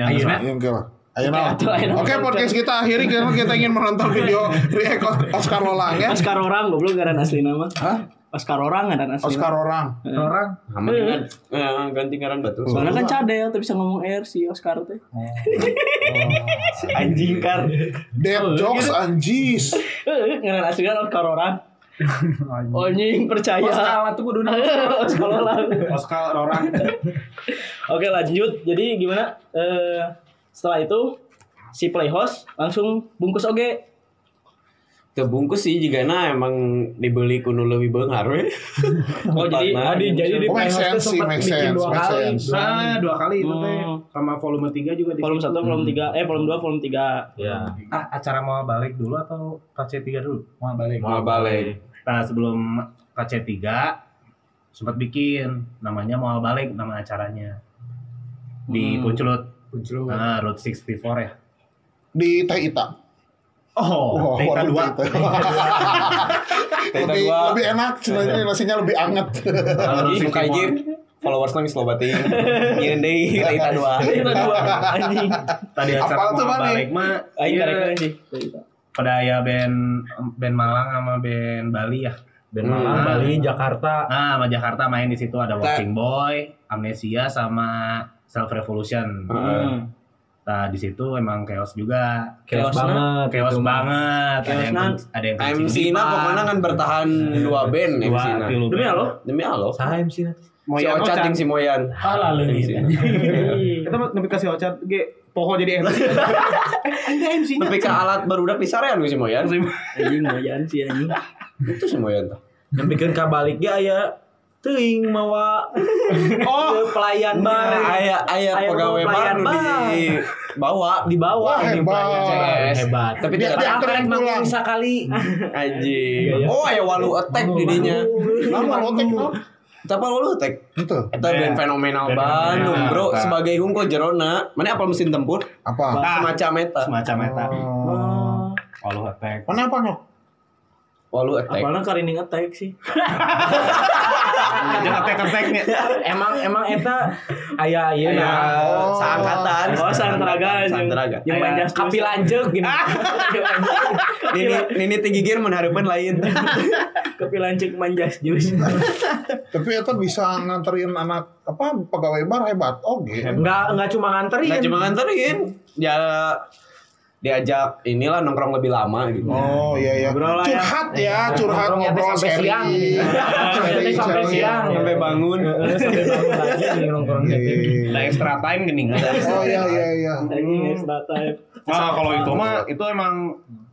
E: Ayeuna.
C: Ayo oke lah. Ayo lah.
B: Atuh, ayeuna.
C: Oke podcast kita akhiri karena kita ingin menonton video react Oscar Lolang ya.
B: Oscar orang goblok garan asli nama. Hah? Oscar orang ada asli.
C: Oscar orang.
F: eh,
G: Orang
B: Mendingan.
D: Eh, ganti ngaran batu.
B: Soalnya kan cadel tapi bisa ngomong air si Oscar teh.
D: Anjing kan.
C: Dead jokes anjis.
B: Eh, ngaran asli kan Oscar orang. Anjing percaya.
G: Skala tuh kudu
B: Oscar orang.
E: Oscar orang.
B: Oke lanjut. Jadi gimana? Eh, setelah itu si playhouse langsung bungkus oge.
D: Kebungkus sih jika na emang dibeli kuno lebih gitu. bengar we.
B: Oh jadi
D: Tempatna.
B: jadi jadi di
C: Oh, make
G: Playhouse
C: sense
G: tuh
C: sih,
G: sempat
C: make
G: bikin
C: sense,
G: dua
C: make
G: kali.
C: sense.
E: Nah, dua kali itu teh.
B: Hmm.
E: Sama volume 3 juga di
B: volume 1,
E: situ.
G: Hmm.
B: volume 3, eh volume 2, volume 3.
D: Iya.
G: Ya.
E: Ah, acara mau balik dulu atau KC3 dulu?
F: wah balik
D: Mau balik.
E: Nah, sebelum KC3 sempat bikin namanya mau balik nama acaranya di
B: Hmm.
E: Punculut.
F: Puncul.
E: Nah, Road 64 ya.
C: Di Teh Ita.
E: Oh, Teka
C: waduh,
E: dua.
C: Teh Ita. lebih,
D: dua.
C: lebih enak, sebenarnya nasinya lebih anget.
E: Kalau
D: Ih, Muka
E: Road 64
D: jir. Followers nangis lo batin. Ngirin deh kita
B: Iya,
D: kita dua.
B: Kita dua anjing.
E: tadi
C: Apal
E: acara
C: tuh,
E: mau
C: Mane?
E: balik mah
B: Aing
E: iya,
B: karek karek sih. Kita.
E: pada ya band band Malang sama band Bali ya.
G: Dan Malang,
E: Hmm.
G: Bali, Jakarta.
E: Nah, sama Jakarta main di situ ada Walking Boy, Amnesia sama Self Revolution.
B: Hmm.
G: Hmm.
D: Heeh.
E: Nah, di situ emang chaos juga.
G: Chaos
B: Eh,
G: banget.
E: Chaos
G: gitu.
E: banget.
B: Chaos
E: ada yang
B: nan.
E: ada yang kencing
D: MC
E: pipa.
D: na
B: Iya.
D: pokoknya kan bertahan dua band
E: dua
D: MC na.
E: tilu
B: Demi
E: band.
B: Allah.
D: Demi Allah.
G: Saha MC na?
D: Si
E: Moyan
D: Ocat yang si Moyan.
G: Ah,
B: Iya.
G: lalu
D: MC na.
E: Kita mau nepi kasih Ocat ge poho jadi MC. MC
B: Iya.
E: nya.
D: Tapi ke alat barudak pisarean ku si Moyan.
B: Anjing moyan sih anjing.
D: Itu si Moyan tuh.
G: Yang bikin ka balik ge aya teuing mawa
D: Oh,
G: pelayan
B: Iya.
D: Nah,
G: bar.
D: ayah ayah
G: Aya pegawai
D: pegawai baru
G: bar.
D: di bawa
G: Di
C: Wah,
G: bawah di
C: hebat.
G: pelayan. Hebat.
D: tapi
C: Dia-
D: tidak
C: dia-
D: tahu
G: Akan
C: pulang.
G: manggung sakali.
E: Iya,
D: anjing. Oh, ayah walu attack dirinya.
C: Lama lo tek Gitu. no.
D: Tapi walu attack.
C: Itu
D: Eta band fenomenal
E: Iya. Band
D: Bandung,
E: fenomenal.
D: bro.
E: Eta.
D: Sebagai hungkul jerona, mana apa mesin tempur?
C: apa?
E: Ah.
D: Semacam eta.
E: Nah, Semacam eta.
C: Oh.
E: Walu attack.
C: Mana apa nyok?
D: Walu attack.
B: Apalagi karining attack sih.
E: Ada attack-attacknya.
G: Emang emang eta aya
B: iya
G: ieu
D: Ya,
G: na.
C: Oh.
D: seangkatan.
B: Oh santraga anjing.
D: Santraga.
B: Yang main
G: Aya
B: jas
G: Kapi lanjut
B: gitu.
G: gini.
D: Nini nini tinggi gear mengharapkan lain.
B: Kapi lancik main jas jus.
C: Tapi itu bisa nganterin anak apa pegawai bar hebat. Oh, gitu. Oke.
G: Enggak enggak cuma
D: Nah,
G: nganterin.
D: cuma nganterin. Ya diajak inilah nongkrong lebih lama gitu.
C: Oh iya iya.
B: Ngobrol lah ya.
C: Curhat ya, curhat ngobrol
G: sampai
C: sharing. Iya,
G: siang.
C: Sharing,
G: Sampai
C: sharing.
G: siang.
E: Iya.
D: Sampai bangun.
F: Eh,
G: Heeh, sampai bangun lagi nih nongkrong
C: Iya,
G: gitu.
C: iya,
E: Ada
C: iya.
E: extra time gini.
C: Oh iya iya iya.
B: Anjing extra time.
E: Nah, kalau itu mah itu emang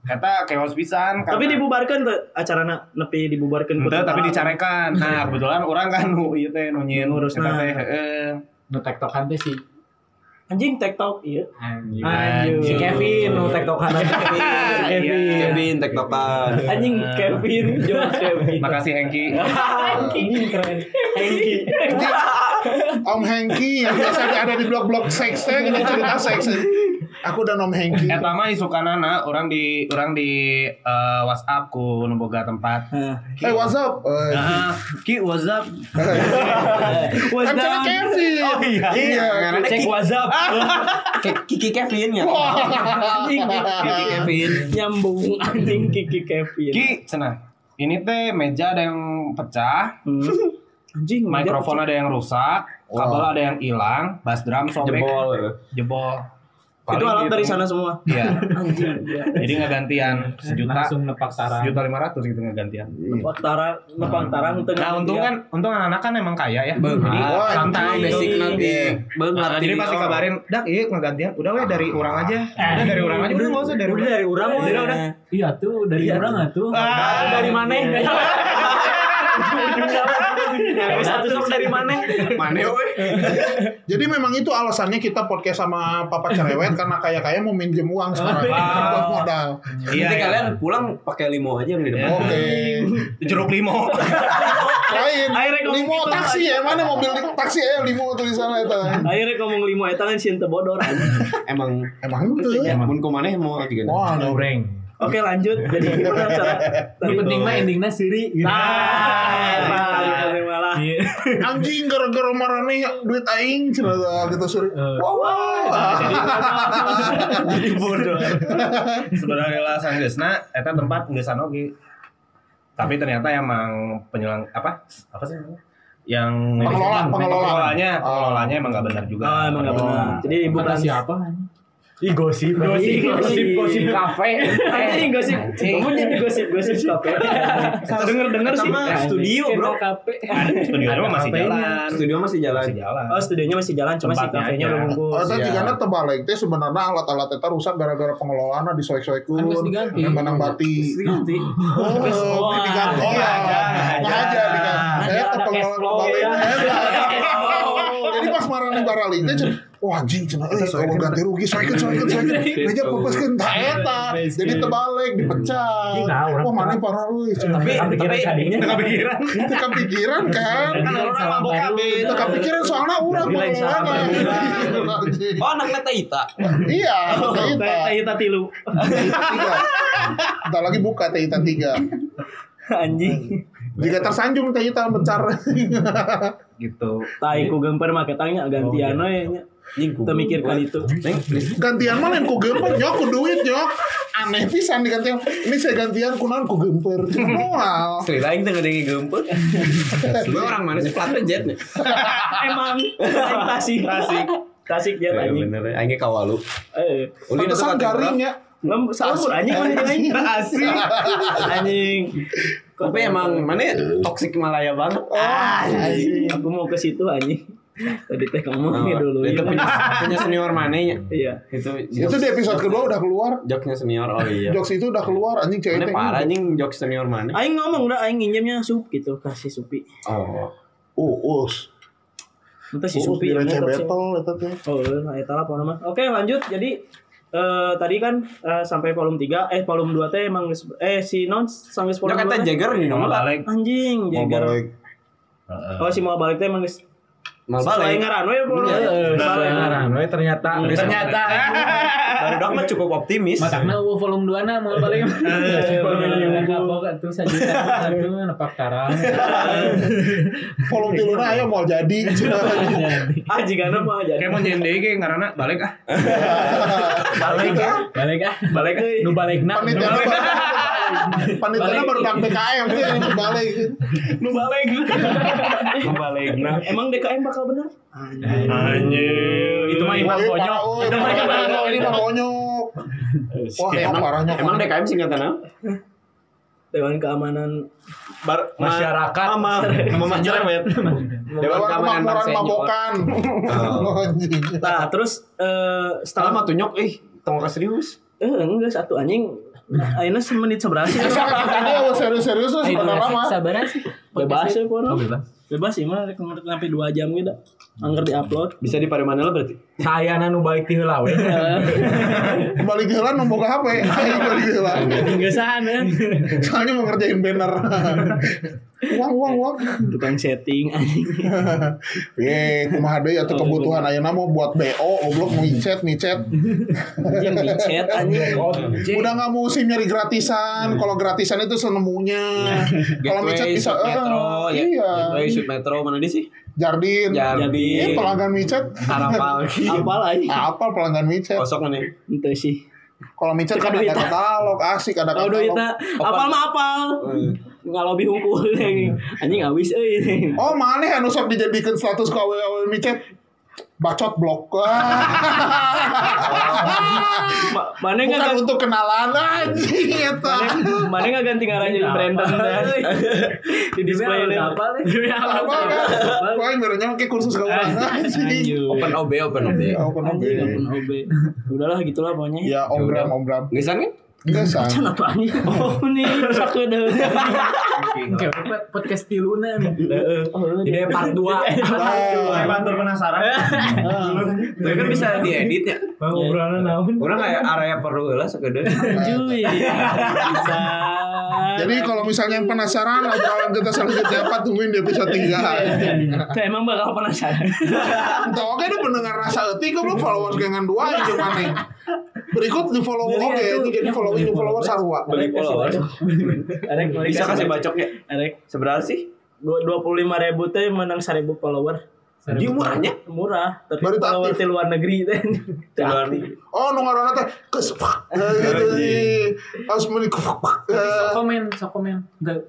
E: eta chaos pisan.
B: Tapi
E: karena-
B: dibubarkan tuh acarana nepi dibubarkan.
E: Ente tapi dicarekan. Nah, kebetulan orang kan nu ieu teh nu nyieun
B: Ngurusna.
E: eta teh, heeh.
F: nu tektokan teh si
B: anjing TikTok iya
F: Anjing.
E: Anjing.
F: Si Kevin nu tektokan. Kevin.
D: Kevin tektokan.
B: anjing Kevin George Kevin
E: Makasih Hengki.
B: anjing keren anjing
C: Om Hengki yang biasanya ada di blog-blog seksnya kita cerita seks. Aku dan Om Hengki.
E: Eta mah isukan anak orang di orang di eh, WhatsApp ku nu boga tempat.
C: Hey, what's up? Eh,
E: Ah, Ki what's up?
C: I'm
B: what's
C: Cina
B: up
C: Kevin. Oh iya. Iya.
B: cek WhatsApp
D: Ke- Kiki Kevin ya.
B: anjing
D: Kiki
B: Kiki-
D: Kevin.
B: nyambung anjing Kiki Kevin
E: Ki cenah. Ini teh meja ada yang pecah,
B: Hmm. anjing
E: mikrofon ada yang rusak, kabel ada yang hilang, bass drum sobek, jebol.
B: itu
E: Paling
B: alat
E: gitu.
B: dari sana semua
E: Iya.
B: anjing iya.
E: Jadi gantian sejuta,
F: Langsung nepak sarang.
E: sejuta lima ratus gitu ngegantian.
B: Lepak tarang, lepak tarang teu
E: Nah untung
B: ngeliat.
E: kan, untung anak-anak kan emang kaya ya.
D: Beuh, jadi
E: Ah,
D: santai
E: santai.
D: basic
E: Iya.
D: nanti. Beuh,
E: Nah,
D: ngelatih
E: jadi pasti
D: orang.
E: kabarin, dak iya ngegantian. Udah weh dari orang aja. Udah dari orang aja, udah nggak usah dari
B: Udah
E: orang.
B: dari urang
D: Udah,
B: weh.
D: udah.
F: Iya tuh dari orang atuh.
B: Ah, dari mana? Dari satu sok dari mana?
E: Mana weh?
C: Jadi memang itu alasannya kita podcast sama Papa Cerewet karena kaya-kaya mau minjem uang sekarang buat modal.
E: Iya,
D: Nanti
E: iya.
D: kalian pulang pakai limo aja yang di depan.
C: Oke.
E: jeruk limo.
C: Lain.
B: Akhirnya kamu
C: Limo
B: gitu,
C: taksi ya mana mobil di- taksi ya limo tulisannya itu.
B: Akhirnya ngomong limo eta kan sieun teu bodor. anjing.
D: Emang
C: Emang itu.
E: Iya.
D: mun ku maneh mau lagi gini.
C: Wah,
G: Goreng.
B: Oke, lanjut. Jadi gimana cara?
F: Yang
B: Gitu.
F: penting mah endingnya
E: Nah,
F: siri Iya. gitu.
E: Ah, iya.
B: Nah, malah.
C: anjing gara-gara marane duit aing cenah tah, gitu suri.
B: Iya.
C: Wow.
F: Iya.
E: Jadi bodoh. Sebenarnya lah sanggeusna eta tempat geus oge. Tapi ternyata emang penyelang apa? Apa sih namanya? Yang
C: Pengelola, pengelola.
E: pengelolanya, pengelolanya emang gak benar juga.
B: Oh, emang nggak benar. Jadi kan- Iya,
F: Kata
B: bukan
F: siapa?
G: Ih gosip.
B: Gosip, gosip, gosip
G: kafe.
F: Iya,
B: Anjing gosip. Kamu jadi gosip gosip kafe. Denger denger sih.
D: Sama studio,
B: Iya,
D: Bro.
E: Studionya mah masih jalan.
D: Studio masih jalan.
E: Masih jalan.
B: Oh, studionya masih jalan, cuma si
E: Tempatnya
B: kafenya
E: aja.
B: udah bungkus.
C: Oh, tadi
D: Iya.
C: karena tebalik teh sebenarnya alat-alat itu rusak gara-gara pengelolaannya disoek-soekun,
F: Kan mesti diganti.
C: menang bati.
B: Nah,
F: Iya.
D: Ganti.
C: Oh, oh diganti
E: oh,
C: ya.
E: aja,
C: Nah
E: aja.
C: aja diganti.
B: Aja
C: Eh,
B: ada
C: ke pengelola
B: cashflow,
C: balik.
B: ya.
C: Eh, Jadi pas marane barali teh cenah, wah anjing cenah euy kalau ganti rugi soekeun soekeun soekeun. Geus pupuskeun ta eta. Jadi tebalik dipecah.
G: Iya, orang
C: Wah, mana parah euy cenah.
D: Tapi tapi
E: Kepikiran.
C: Itu kepikiran kan? Itu kepikiran soalnya urang
B: Lain
C: pengelolaan.
B: sahabat.
D: Oh, anak teh Ita.
C: Iya,
B: Oh, Teh
C: Teita
B: Ita tilu.
C: tiga. Entar lagi buka Teita tiga.
B: Anjing.
C: Jika tersanjung Teita mencar.
E: Gitu.
B: Tai ku gempar make tanya gantian we nya. Anjing ku. Temikirkan itu.
C: gantian mah lain ku gemper nyok ku duit nyok aneh pisan digantian ini saya gantian ku naon ku gemper Cuma moal
D: Sri lain tengah dengi gempet. Gue orang mana sih platnya jet nih.
B: Emang Aing Tasik. Tasik. Tasik
D: Iya,
B: dia Iya, anjing.
D: Bener, aing kawalu.
B: Eh.
D: Uli itu
C: pantesan
D: kata orang.
C: garing ya
B: Lem sakur anjing mana jeung aing. Asik. Anjing.
D: Tapi emang mana toksik Malaya banget. Ah.
C: oh
B: Anjing. Aku mau ke situ anjing. Tadi teh
D: Oh,
B: kamu ini dulu.
D: itu
B: ya.
D: punya, punya senior manenya.
B: Iya.
D: Itu
C: ya. itu di episode kedua udah keluar
D: joknya senior. Oh iya.
C: jokes gitu. itu udah keluar anjing cewek
D: Mana
C: teh
D: parah anjing jok senior mana?
B: Aing ngomong udah aing nginjemnya sup gitu kasih supi.
D: Oh.
C: uus
B: Entah si
C: uus
B: supi. yang
C: di receh
B: ngetok sih.
C: battle itu tuh
B: Oh, nah, eta lah pokoknya mah. Oke, lanjut. Jadi eh tadi kan eh, sampai volume 3, eh volume 2 teh emang geus- eh si Non sanggeus
D: Jok
B: volume 2 teh.
D: kata Jagger di
E: Mau
D: nomor lah.
E: balik.
B: Anjing,
C: mau
B: Jagger.
C: balik
B: Oh, si mau balik teh emang geus
D: Mal
B: sesuai
D: balik.
B: ngaran we volume
F: Nah,
B: dua teh. Sesuai ngaran.
G: ternyata.
D: Ternyata baru dok mah cukup optimis.
F: Matakna eueuh volume 2 na mau balik. Volume 2 kapok atuh sajuta atuh nepak tarang.
C: volume tiluna ayo mau jadi
B: Ah, jigana mah jadi.
E: Kayak mau nyendei kayak ngarana balik ah.
F: Balik ah. Balik ah.
B: Balik euy.
F: Nu balikna. nu
C: panitia
F: balik-
C: panitia berbang PKM tuh Iya, yang balik
B: Nu balik.
E: Balik. Nah.
B: Emang DKM bakal bener?
E: Anjir. Itu mah
C: Wah,
E: iman
C: iya,
E: konyol.
C: parah, uy. ini mah konyok wah emang parahnya
D: Emang DKM singkatan apa?
B: Dewan keamanan
D: Bar- ma-
G: Masyarakat.
D: Mama, mama cerewet.
C: Dewan Kemakmuran
D: Bangsa Nyok.
C: Pabokan. Oh. Anjing.
B: Nah, terus eh
D: Salah
B: setelah
D: mah tunyok, ih, tongkat Ah. serius.
B: eh enggak satu anjing. Ayeuna semenit seberapa sih?
C: Tadi awal serius-serius tuh
F: Ayo,
C: sebenarnya mah.
F: sabaran sih.
B: Bebas ya, Pono.
F: Oh, bebas.
B: Bebas sih mah rek ngorek sampai 2 jam gitu. Angger diupload.
G: Bisa di mana lah berarti? Saya nanu balik di heula we.
B: Eh,
C: Balik heula nu boga HP. Ayo balik heula.
B: Enggak sana.
C: Soalnya mau ngerjain banner. Uang uang uang.
B: Tukang setting anjing.
C: Ye, kumaha deui atuh kebutuhan ayeuna mau buat BO, goblok mau micet, micet.
B: Anjing di chat anjing.
C: Udah nggak mau SIM nyari gratisan. Kalau gratisan itu senemunya. Kalau micet
D: Gateway,
C: bisa
D: Shoot Metro,
C: eh,
D: ya.
C: Iya.
D: Gateway, Shoot Metro, mana dia sih?
C: Jardin. Eh, Iya.
D: Jadi,
C: pelanggan micet.
D: Harapal.
B: Apal anjing.
C: Apa pelanggan micet?
D: Kosong nih.
B: Itu sih.
C: Kalau micet kan
B: Kalau
C: ada
B: Duita.
C: katalog, asik ada
B: Kalau
C: katalog.
B: duitnya apal mah apal. Enggak lebih hukum anjing. Anjing awis euy.
C: Oh mana anu sok dijadikan status KW KW micet bacot blok Wah.
B: Ma- Mana
C: bukan
B: enggak
C: untuk kenalan anjing eta
B: mana enggak ganti ngaran jadi Brandon teh. Di display ini.
F: apa nih?
C: apa kan gua yang berenang ke kursus kau anjing
B: Anjing.
D: Open OB, Open OB.
C: ya aku
B: Anjing
C: nabe
B: open OB. Udahlah gitulah pokoknya.
C: ya ombram ombram
D: Gesan kan?
C: gesan
B: Can apa anjing? Oh nih sakit deh.
C: Iya.
F: Oke, podcast tiluna nih.
B: Oh,
D: Jadi part
C: Iya.
D: 2.
E: Saya
C: Wah.
E: bantu penasaran.
D: Tapi kan bisa diedit ya.
G: Bang obrolan naon?
D: Orang kayak area perlu lah segede.
B: Cuy. Bisa.
C: jadi kalau misalnya yang penasaran obrolan kita selanjutnya apa tungguin di episode 3
B: Tuh, emang bakal penasaran.
C: entah oke ada pendengar rasa etik kok belum followers gengan dua aja mana berikut di follow oke itu jadi following di follower sarua
D: Beli followers.
B: Arek, mari
D: Bisa kasih
B: baca.
D: bacok ya?
B: Arek,
D: Seberapa sih?
B: dua puluh lima ribu teh menang seribu follower.
D: Dia murahnya.
B: Murah, tapi
C: Baru
B: follower di
C: aktif.
B: luar negeri teh. Teu aktif.
C: oh nunggu orang teh kes eh, harus meni eh.
F: Sok komen, sok komen.
B: Teu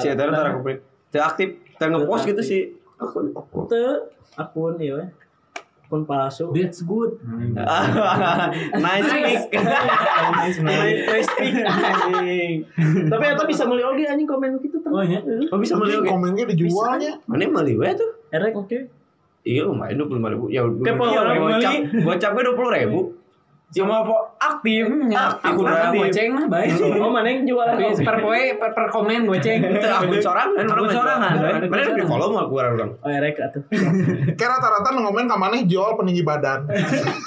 D: Si Eta ntar aku print. Tidak aktif. Tidak ngepost gitu sih.
B: Teu akun ieu we. Akun palsu.
F: That's good.
D: nice pick.
B: Main Facebook anjing. Tapi eta bisa meuli oge anjing komen gitu teh.
F: Oh, iya?
D: Oh bisa beli oke.
C: komennya dijualnya
D: Mana yang beli we tuh?
B: Erek oke.
D: Iya lumayan dua puluh ribu. Ya udah.
B: Kayak orang
D: gocap, gocap gue dua puluh ribu. Hmm, ya.
G: Cuma po aktif.
D: Aku
F: Aku
D: udah
F: udah goceng lah baik.
B: Oh, mana yang jual?
F: Tapi
B: Oh,
F: per poe per, per komen goceng.
D: Itu akun sorangan.
F: Akun sorangan,
D: Mana-
F: ada
D: Mana yang
F: akun
D: di follow mah kurang orang.
B: oh, erek atuh.
C: Kayak rata-rata ngomen ke mana jual peninggi badan.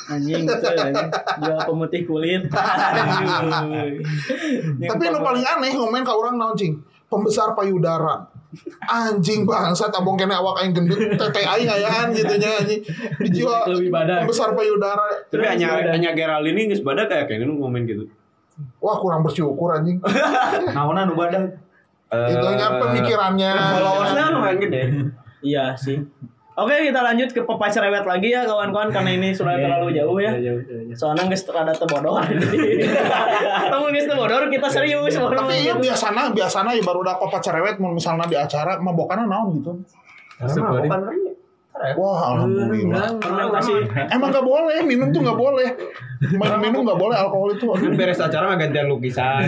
B: Anjing gitu anjing. Jual pemutih kulit. Aduh.
C: Tapi yang paling aneh ngomen ke orang nancing. Pembesar payudara. Anjing bangsa tabong kena awak aing gendut tete aing ayaan gitu nya anjing. Dijual
F: Lebih badan.
C: pembesar payudara.
D: Tapi hanya hanya Geraldine ini sebadah kayak kayak gini komen gitu.
C: Wah kurang bersyukur anjing.
G: Naonan ubadah.
C: Eh, Itu
D: Eh,
C: nya pemikirannya.
D: Followersnya kan lumayan gede.
B: Iya sih. Oke, kita lanjut ke pepacar cerewet lagi ya kawan-kawan karena ini sudah terlalu jauh ya. Soalnya nggak rada tebodor. Kamu nggak tebodor, kita serius.
C: Tapi iya biasana biasana ya baru udah kopa cerewet mau misalnya di acara mah bokana naon gitu.
D: Bukan
C: Wah alhamdulillah.
B: Fermentasi
C: Emang gak boleh minum tuh gak boleh. Main minum gak boleh alkohol itu.
D: Kan beres acara mah gantian lukisan.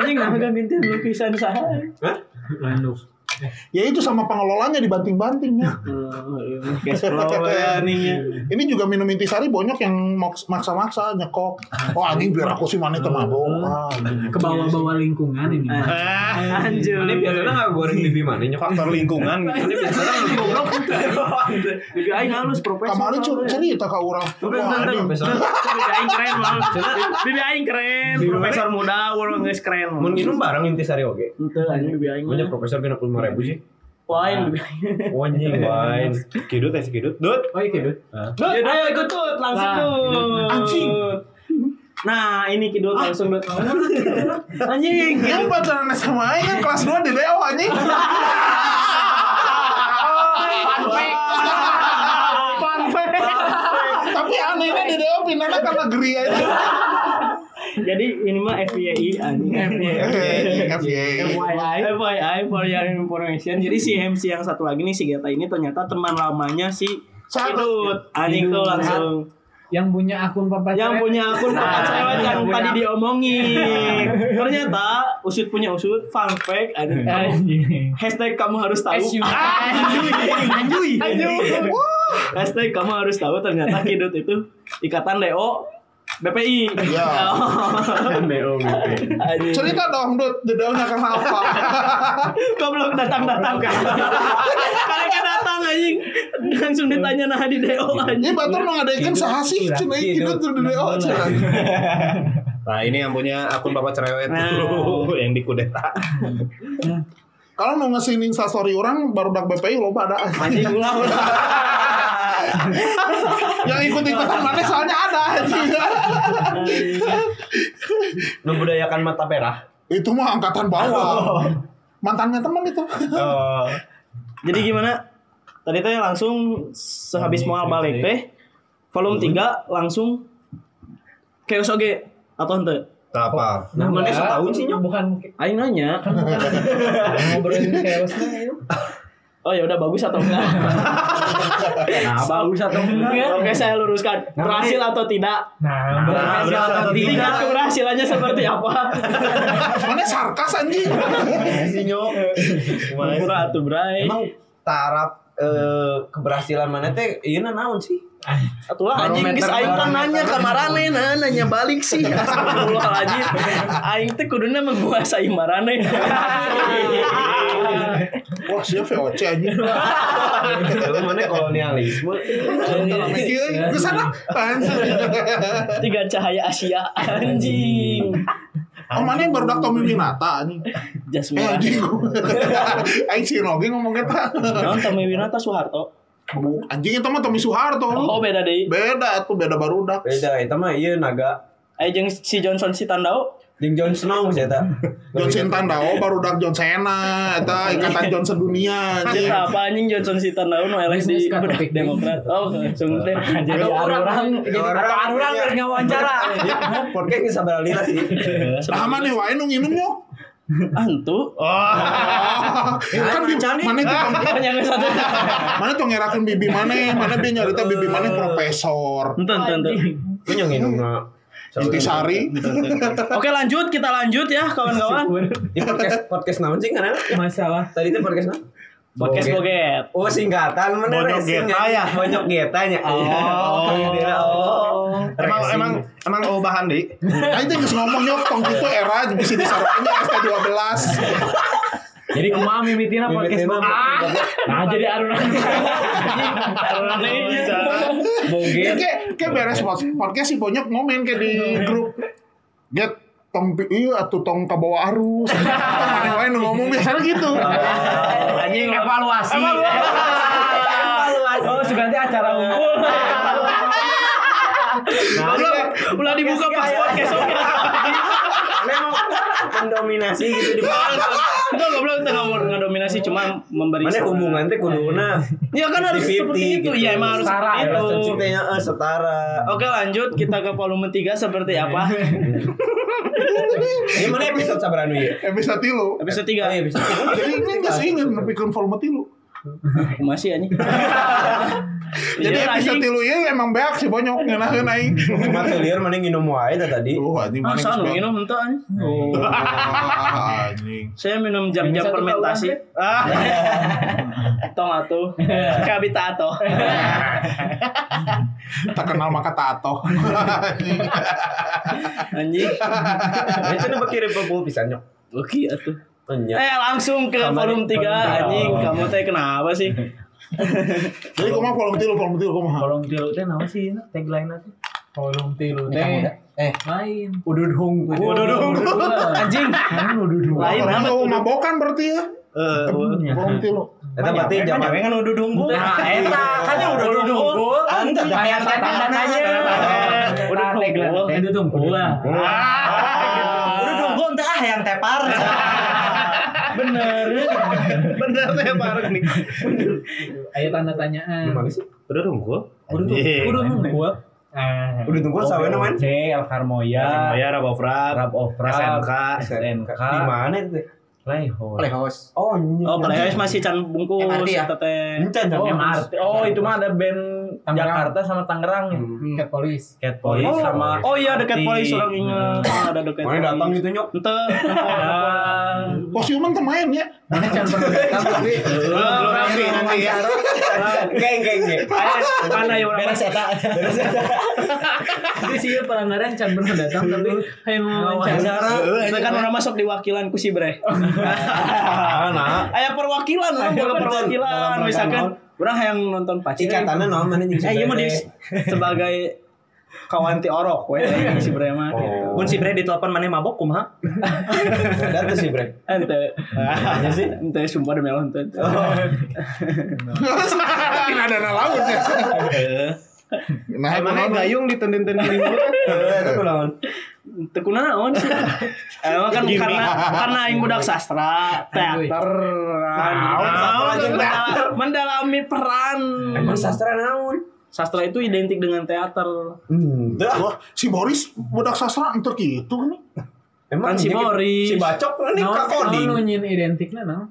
B: Anjing kenapa gak gantian lukisan saya?
C: Ya itu sama pengelolanya dibanting-banting ya.
B: Cash flow ya nih ya.
C: Ini juga minum intisari bonyok yang maks- maksa-maksa nyekok. Oh anjing biar aku sih mana temabok. Ah,
F: Ke bawah-bawah lingkungan ini. mah.
C: Eh,
B: Anjir.
D: Ini biasanya nggak goreng bibi mana nyokap.
E: Faktor lingkungan gitu.
D: Ini biasanya goblok.
B: Bibi aing halus profesor.
C: Kemarin cer- cerita ke orang. Wah, anjing.
B: Bibi aing keren mal. Bibi aing keren, profesor muda, orang geus keren.
D: Mau minum bareng intisari oke.
B: Henteu anjing bibi aing.
D: Punya profesor kena puluh ribu sih.
B: Wah, aing bibi aing.
D: Anjing, main.
E: Kidut ya si Kidut. Dut.
F: Oh, iya, Dut.
B: Dut, ayo ikut Dut, langsung
F: Nah,
B: Dut.
C: Anjing.
B: iya. Nah, ini kidut langsung Dut. Anjing.
C: Yang pacaran sama Aing kan kelas 2 di DO anjing.
B: Fun fact.
C: Tapi anehnya di DO pindahnya ke negeri aja.
B: Jadi ini mah FYI anjing.
E: iya.
F: Oh.
C: FYI.
B: FYI. FYI for your information. Jadi si MC yang satu lagi nih si Geta ini ternyata teman lamanya si Kidut. Anjing tuh langsung.
F: Yang punya akun papa
B: yang
F: cewek.
B: punya akun pacar cewek Nah, yang
F: Yang
B: tadi
F: punya-
B: diomongin. Ternyata usut punya usut, fun fact, ada
F: Anjing.
B: hashtag kamu harus tahu.
F: SU.
B: Anjuy. Anjuy. Hashtag kamu harus tahu ternyata kidut itu ikatan Leo BPI.
C: Ya.
B: Oh.
G: Neo gitu.
B: Anjing.
C: Cerita dong, Dut, judulnya karena apa?
B: Kok belum datang-datang kan? Kalian kan datang anjing. Langsung ditanya nah di DO
C: Ini
B: anjing.
C: Batur mengadakan sahasi, cina ini Dut, tuh di DO, cina.
E: Nah ini yang punya akun bapak cerewet
B: Nah.
E: dulu yang dikudeta.
C: Kalau mau ngasih instastory orang, baru dak BPI lo ada.
D: Anjing ulah ulah.
C: Yang ikut-ikutan mana soalnya ada. anjing.
D: Membudayakan mata merah.
C: itu mah angkatan
B: Oh.
C: bawah. Mantannya teman itu.
B: Jadi gimana? Tadi teh langsung sehabis moal balik teh volume 3 langsung chaos oge atau henteu?
E: Tak apa.
D: Nah, mana setahun sih nyok?
F: Bukan
B: Aing nanya.
F: ngobrolin chaosnya itu.
B: Oh ya udah bagus atau enggak? Nah, bagus atau enggak? Oke saya luruskan. Berhasil atau tidak?
F: Nah,
B: Berhasil atau tidak? Tingkat keberhasilannya seperti apa?
C: Mana sarkas anjing.
D: sih nyok.
B: Kurang atuh Bray.
D: Emang taraf eh, keberhasilan mana teh ieu na naon sih?
B: Atulah anjing
D: Barometer
B: geus aing kan nanya
D: barometer.
B: ka marane nah nanya balik sih. Astagfirullahaladzim. Aing teh kuduna menguasai marane.
C: Wah, dia VOC anjing.
D: Lu mana kolonialisme?
F: Iya,
C: Iya, Ke sana.
B: Tiga cahaya Asia anjing.
C: Oh, mana yang baru dak Tommy Winata anjing. Eh,
B: Jasmine.
C: anjing. Aing si Rogi ngomong kita.
B: Naon Tommy Winata Soeharto?
C: Anjing itu mah Tommy Soeharto.
B: Oh beda deui.
C: Beda tuh beda baru dak.
D: Beda, itu mah ieu naga.
B: Ayo jeung si Johnson si Tandao.
D: Jeung John Snow sih eta.
C: John Sintandao baru dak John Cena, eta ikatan John sedunia anjing.
B: Cinta apa anjing ya, Johnson si Tandao nu eleh di
F: Bisnis ka
B: budak
F: Iya. topik.
B: Demokrat. Oh langsung teh.
F: Jadi orang
D: Jadi orang orang keur ngawancara. Ya, podcast geus sabar lila sih.
C: Nah, mana wae nu nginum yuk.
B: Antu.
E: Oh.
C: kan di mana itu
B: Banyak satu.
C: mana tuh ngerakan bibi mana mana bi nyarita bibi mana profesor
B: Entar entar. entar.
D: Gue yang minum
C: intisari
B: Oke lanjut kita lanjut ya kawan-kawan.
D: Di podcast podcast naon sih karena
F: masalah
D: tadi teh podcast naon?
B: Podcast
D: Boge.
B: Boget.
D: Oh singkatan mana
E: Bonyok
D: racing,
E: Geta ya?
D: Bonyok geta nya. Iya.
E: Oh.
D: gitu, oh.
E: Emang
D: Racing.
E: emang emang obahan di.
C: nah itu geus ngomong yuk tong itu era bisa disarankannya ST12
F: jadi kumaha mimitina podcast
D: Mimitina.
F: mama nah jadi arunan arunan
B: Iya.
F: ini
C: Ya, kayak kayak beres pod- podcast si Bonyok ngomen kayak di grup get tong pi- iya atau tong kabawa arus tong aneh wae nu ngomong biasanya gitu
B: Anjing evaluasi.
F: oh suganti acara unggul
B: Ulah ulah dibuka pas podcast oke.
D: kan- Iya, Karena emang mendominasi gitu di mana?
B: Enggak goblok teh ngomong ngedominasi cuma memberi.
D: Mana
B: saran.
D: hubungan teh kuduna
B: Ya kan harus
D: 50-50
B: seperti itu.
D: gitu.
B: Ya emang harus
F: Setara, ya,
B: seperti itu.
D: cintanya eh, setara.
B: Oke lanjut kita ke volume 3 seperti apa?
D: Ini mana episode sabaranu ya?
C: episode tilu
B: Episode
D: Oh,
B: 3
D: iya, episode.
C: jadi ini geus inget nepikeun volume tilu
B: masih anjing. Iya,
C: jadi episode tilu ieu emang beak si Bonyok ngeunaheun aing
D: Mata liar mana nginum wae dah tadi.
C: oh anjing mana
B: Masa
C: geus
B: anu
C: beak.
B: minum henteu anjing.
C: Ah, anjing.
B: Saya minum jam-jam
F: Ini satu
B: fermentasi. Ah. Tong atuh. Kabita atuh.
C: Tak kenal maka tato.
B: Anjing.
D: Ini cenah beki pebul pisan nyok.
B: Oke atuh.
D: Enya.
B: Eh langsung ke volume 3 anjing. Kamu teh kenapa sih?
C: Jadi kumaha kolom tilu, kolom tilu kumaha.
F: kolom tilu teh nama sih tagline aku kolom tilu teh
D: Eh,
F: lain udud hunggu udud hunggu
B: Anjing.
F: kan udud hunggu
B: Lain
C: Lain
B: amat.
C: apa? mabokan berarti ya.
E: Eh,
C: Kolom tilu.
D: eta berarti zaman
E: kan udah dunggu.
F: nah eta
G: iya.
F: kan yang udud hunggu
D: Anjing.
F: bayar tanda tanya udud hunggu udud hunggu lah
D: Udah dong, gue entah ah yang tepar.
E: Bener teh bareng nih.
F: ayo tanda tanyaan
D: Gimana sih?
E: Udah dunggu.
F: Udah tuh, udah nunggu. Nah,
D: Udah tunggu sampai namanya.
F: C, El Carmoya,
E: Ya, Rab of Rab,
F: Rab of Rab,
E: SMK,
F: SMK,
D: Di mana itu? iya.
G: Playhouse.
D: Playhouse.
G: Oh,
B: Oh, Playhouse masih can bungkus
D: MRT ya?
B: eta teh.
G: Encan
F: Oh,
G: MRT. Oh, itu mah ada band
F: Tangerang.
G: Jakarta sama Tangerang ya.
D: Hmm.
F: Cat Police.
G: Cat Police
B: Oh,
G: sama
B: Oh iya
G: Arti.
B: dekat polis orang ingat. Ada dekat.
D: Mana datang gitu nyok?
B: Ente.
C: Oh, si Uman kemarin ya.
F: Mana Chan pernah datang?
B: Belum nanti nanti ya.
D: Geng geng geng.
B: Mana ya orang
D: Beres eta. Beres eta.
F: Tapi sih pernah ngaran Chan pernah datang tapi hayang wawancara.
B: Kita kan orang masuk di wakilan ku sih bre.
D: Nah,
B: Aya Ah, perwakilan, orang boga perwakilan. Misalkan orang yang nonton pacik.
D: ikatannya naon mana jeung si
B: Eh, iya mah
D: Bebe?
B: di sebagai kawan ti orok we si Bre mah gitu. Mun si Bre ditelepon maneh mabok kumaha?
D: Ada tuh sih, Bre.
B: Ente. Oh, Hanya sih ente sumpah demi Allah ente.
C: Tidak ada anak laut ya.
D: Eh,
C: Nah,
E: Emangnya
C: kunaon?
E: gayung ditenden-tenden
D: gitu
E: di
D: kan?
E: mulut?
B: Teu kunaon sih? Emang kan karena karena aing budak sastra, teater.
D: Naon sastra
B: Naon,
D: jeung teater?
B: mendala- mendalami peran.
D: Emang sastra naon?
B: Sastra itu identik dengan teater.
D: Hmm.
G: Kan
C: Wah, si Boris budak sastra entar gitu nih.
D: Emang
B: Kan si
D: ini-
B: Boris.
D: Si Bacok ini
G: Nah,
F: Naon
D: ka
F: naon
D: coding.
F: nu nyin identikna naon?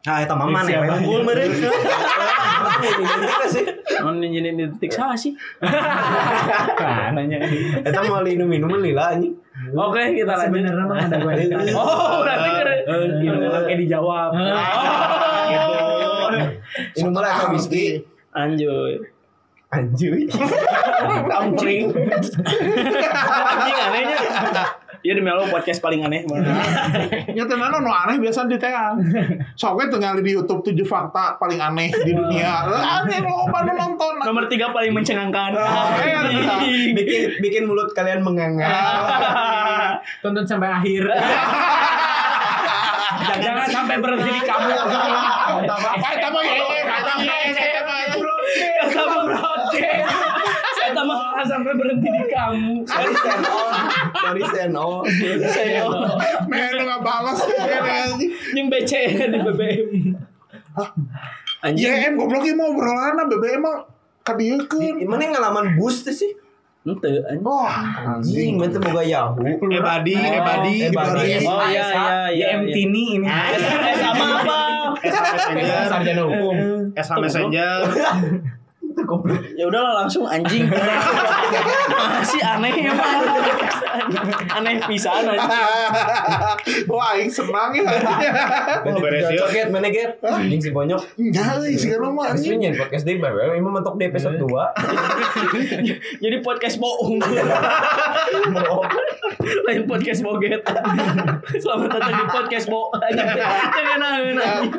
D: Nah, eta mah mana ya?
B: Iya.
D: Unggul meureun. Eta sih.
B: Non jadi identik sah sih.
F: Nah,
D: Eta mau minum minuman lila anjing.
B: Oke, kita lanjut.
F: Sebenarnya mah ada gua ditanya.
B: Oh, berarti keren.
D: Eh, iya.
G: dijawab.
D: Ah.
B: Ah.
D: Gitu. Minuman atau whisky?
B: Lanjut.
D: Anjir. Tampering.
B: Anjing anehnya. Iya demi Allah podcast paling aneh banget.
C: Ya tenan no aneh biasa di teang. Soalnya tuh nyali di YouTube tujuh fakta paling aneh di dunia. Lah, Aneh lo baru nonton.
B: Nomor tiga paling mencengangkan.
C: Eh,
B: iya, Anjing. Ah.
D: Bikin bikin mulut kalian menganga.
F: Tonton sampai akhir. Ya,
B: Jangan sampai berhenti di kamu.
C: Kayak tambah ya, kayak tambah ya, kayak tambah ya.
B: Kamu protes. Saya tambah sampai berhenti di kamu.
D: Sorry stand on. Sorry stand on.
B: Saya
C: Men lu Nah, nggak balas ya.
B: yang BCN di BBM.
D: Iya.
B: Anjing.
C: YM goblok ieu mau obrolan BBM mah kadiekeun.
D: Di- Mana yang ngalaman bus tuh sih?
B: Ente anjing.
C: Wah,
D: Anjing, mana tuh boga Yahoo.
E: Ebadi,
C: eh,
E: Ebadi.
C: Nah,
D: Ebadi.
B: Oh iya iya iya.
G: IMT ini ini.
B: Eh, sama apa?
G: Sarjana hukum.
E: SH Messenger.
B: Ya udahlah langsung anjing. Masih aneh ya Pak. Aneh pisan anjing.
C: Wah, aing senang ya.
E: Oh, beres yuk.
D: Joget mana get? Anjing si bonyok.
C: Enggak, sih kan mah
D: Asli
C: anjing.
D: nyen podcast di bawah. Ini mentok di episode 2.
B: Jadi podcast bohong. Lain podcast boget. Selamat datang di podcast bo. Jangan nahan anjing.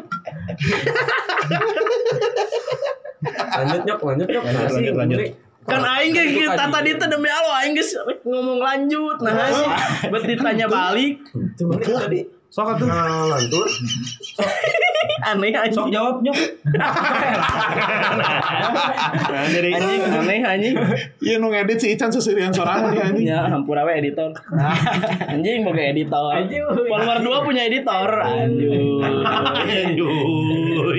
D: Lanjut nyok, lanjut nyok.
E: Lanjut, lanjut, lanjut.
B: Kan aing ge kita tadi teh demi Allah aing geus ngomong lanjut. Nah, sih. bet ditanya balik.
D: Cuma tadi. Sok atuh. Nah, lantur.
B: Aneh anjing. Sok jawab nyok.
E: Nah, jadi
B: Anjing aneh anjing.
C: Ieu nu ngedit Iya, si Ican sesirian sorangan ya anjing.
B: Ya, hampura we editor. Anjing boga editor.
F: Anjing.
B: Follower 2 punya editor. Anjing.
E: Aduh.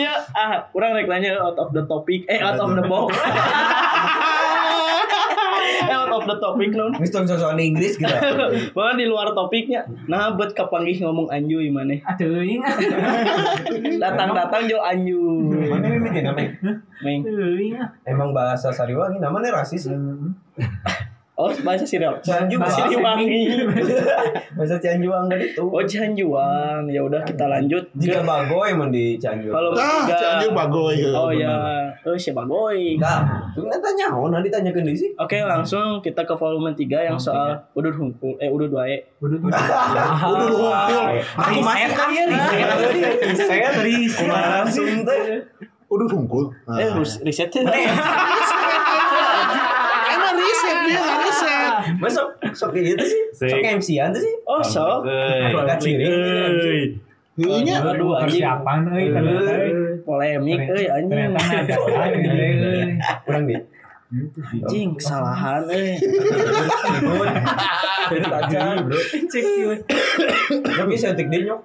B: ya, ah, kurang rek nanya out of the topic. Eh, out of the box. eh, out of the topic non.
D: Wis tong sosokan Inggris gitu.
B: Bahkan di luar topiknya. Nah, buat kepanggih ngomong anjuy maneh.
F: Aduh, iya. ing.
B: Datang-datang jo anjuy.
D: Mana ini dia namanya?
B: Meng.
F: Aduh, iya. ing.
D: Emang bahasa Sariwangi namanya rasis ya?
B: Oh, bahasa serial.
D: Cianjur bahasa
B: Siliwangi.
D: bahasa Cianjuang tadi tuh.
B: Oh, Cianjuang. Ya udah kita lanjut.
D: Jika bagoy mun di Cianjur.
B: Kalau
C: Ah,
B: ketiga-
C: Cianjur bagoy. ya,
B: Oh ya,
C: benar.
B: oh siapa boy?
D: Nah, tuh nggak tanya, oh nanti tanya ke sih.
B: Oke, langsung kita ke volume 3 yang soal udud hungkul eh udud wae.
F: Udah tuh. Ah.
D: Udah dulu, aku masih kali ya, saya dari langsung teh.
C: Udah dungkul.
B: Eh,
C: Nah.
B: rus- riset
C: Emang riset dia nggak riset.
D: Masuk, sok kayak gitu sih,
E: Sik.
D: sok kayak MC-an tuh sih.
B: Oh, so.
D: Agak ciri.
C: Heunya.
B: Aduh, anjing.
F: Persiapan euy ternyata. euy.
B: Polemik euy anjing.
F: Ternyata ada orang gitu, euy.
D: Kurang deh.
B: Anjing kesalahan euy.
D: Ribut. Ribut aja, bro. Nyok, ini cantik deh, nyok.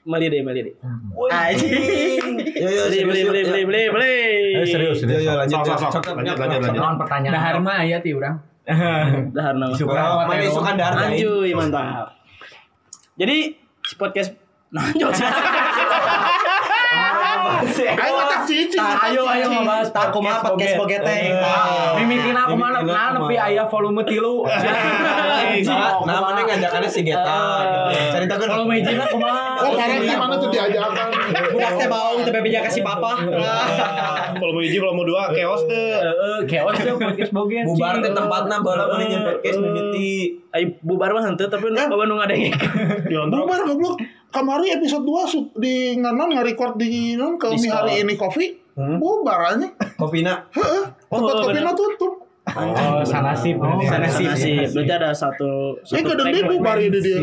B: Meli deh, meli deh.
D: Woi.
B: Anjing.
D: Yo, yo,
B: Beli beli beli beli beli beli.
G: Serius,
D: Yo, yo, lanjut,
E: Sok, sok,
D: Cok,
E: sok. Iya, Lanjut,
D: nyok,
E: lanjut,
D: nyok,
E: lanjut.
D: nyok.
F: Pertanyaan. Dahar mah aya
D: ya,
F: ti urang.
B: Dahar nama.
D: Mana isukan darah?
B: Anjuy, mantap. Jadi podcast nonjol.
C: Ayo kita cicing.
D: Ayo ayo ngebahas tak kumaha podcast boge teh.
G: Mimikin aku mana nah nepi aya volume 3.
D: Nah, mana ngajakannya si Geta. Cerita kan
G: Kalau mejina kumaha?
C: Oh, karena di mana tuh diajarkan?
D: budak teh bau teh bebeja kasih papa.
E: Kalau mau hiji, kalau mau dua, chaos tuh.
G: Heeh, keos teh podcast boge.
D: Bubar teh
G: Cing.
D: tempatna baheula meuning nyen podcast mimiti.
B: Ayo bubar mah henteu tapi nu bawa nu ngadeng.
E: Diondrok.
C: Bubar goblok. Kamari episode 2 sub di nganon nge-record di non kalau mi hari ini kopi. Bubar aja.
D: Kopina.
C: Heeh. Tempat
B: Hmm? Oh,
C: kopi
B: bener.
C: tutup.
G: Oh, sanasib.
F: ya.
B: Sana sih sih. Berarti ada satu
C: Eh
B: satu
C: kadang dia bubar ini dia.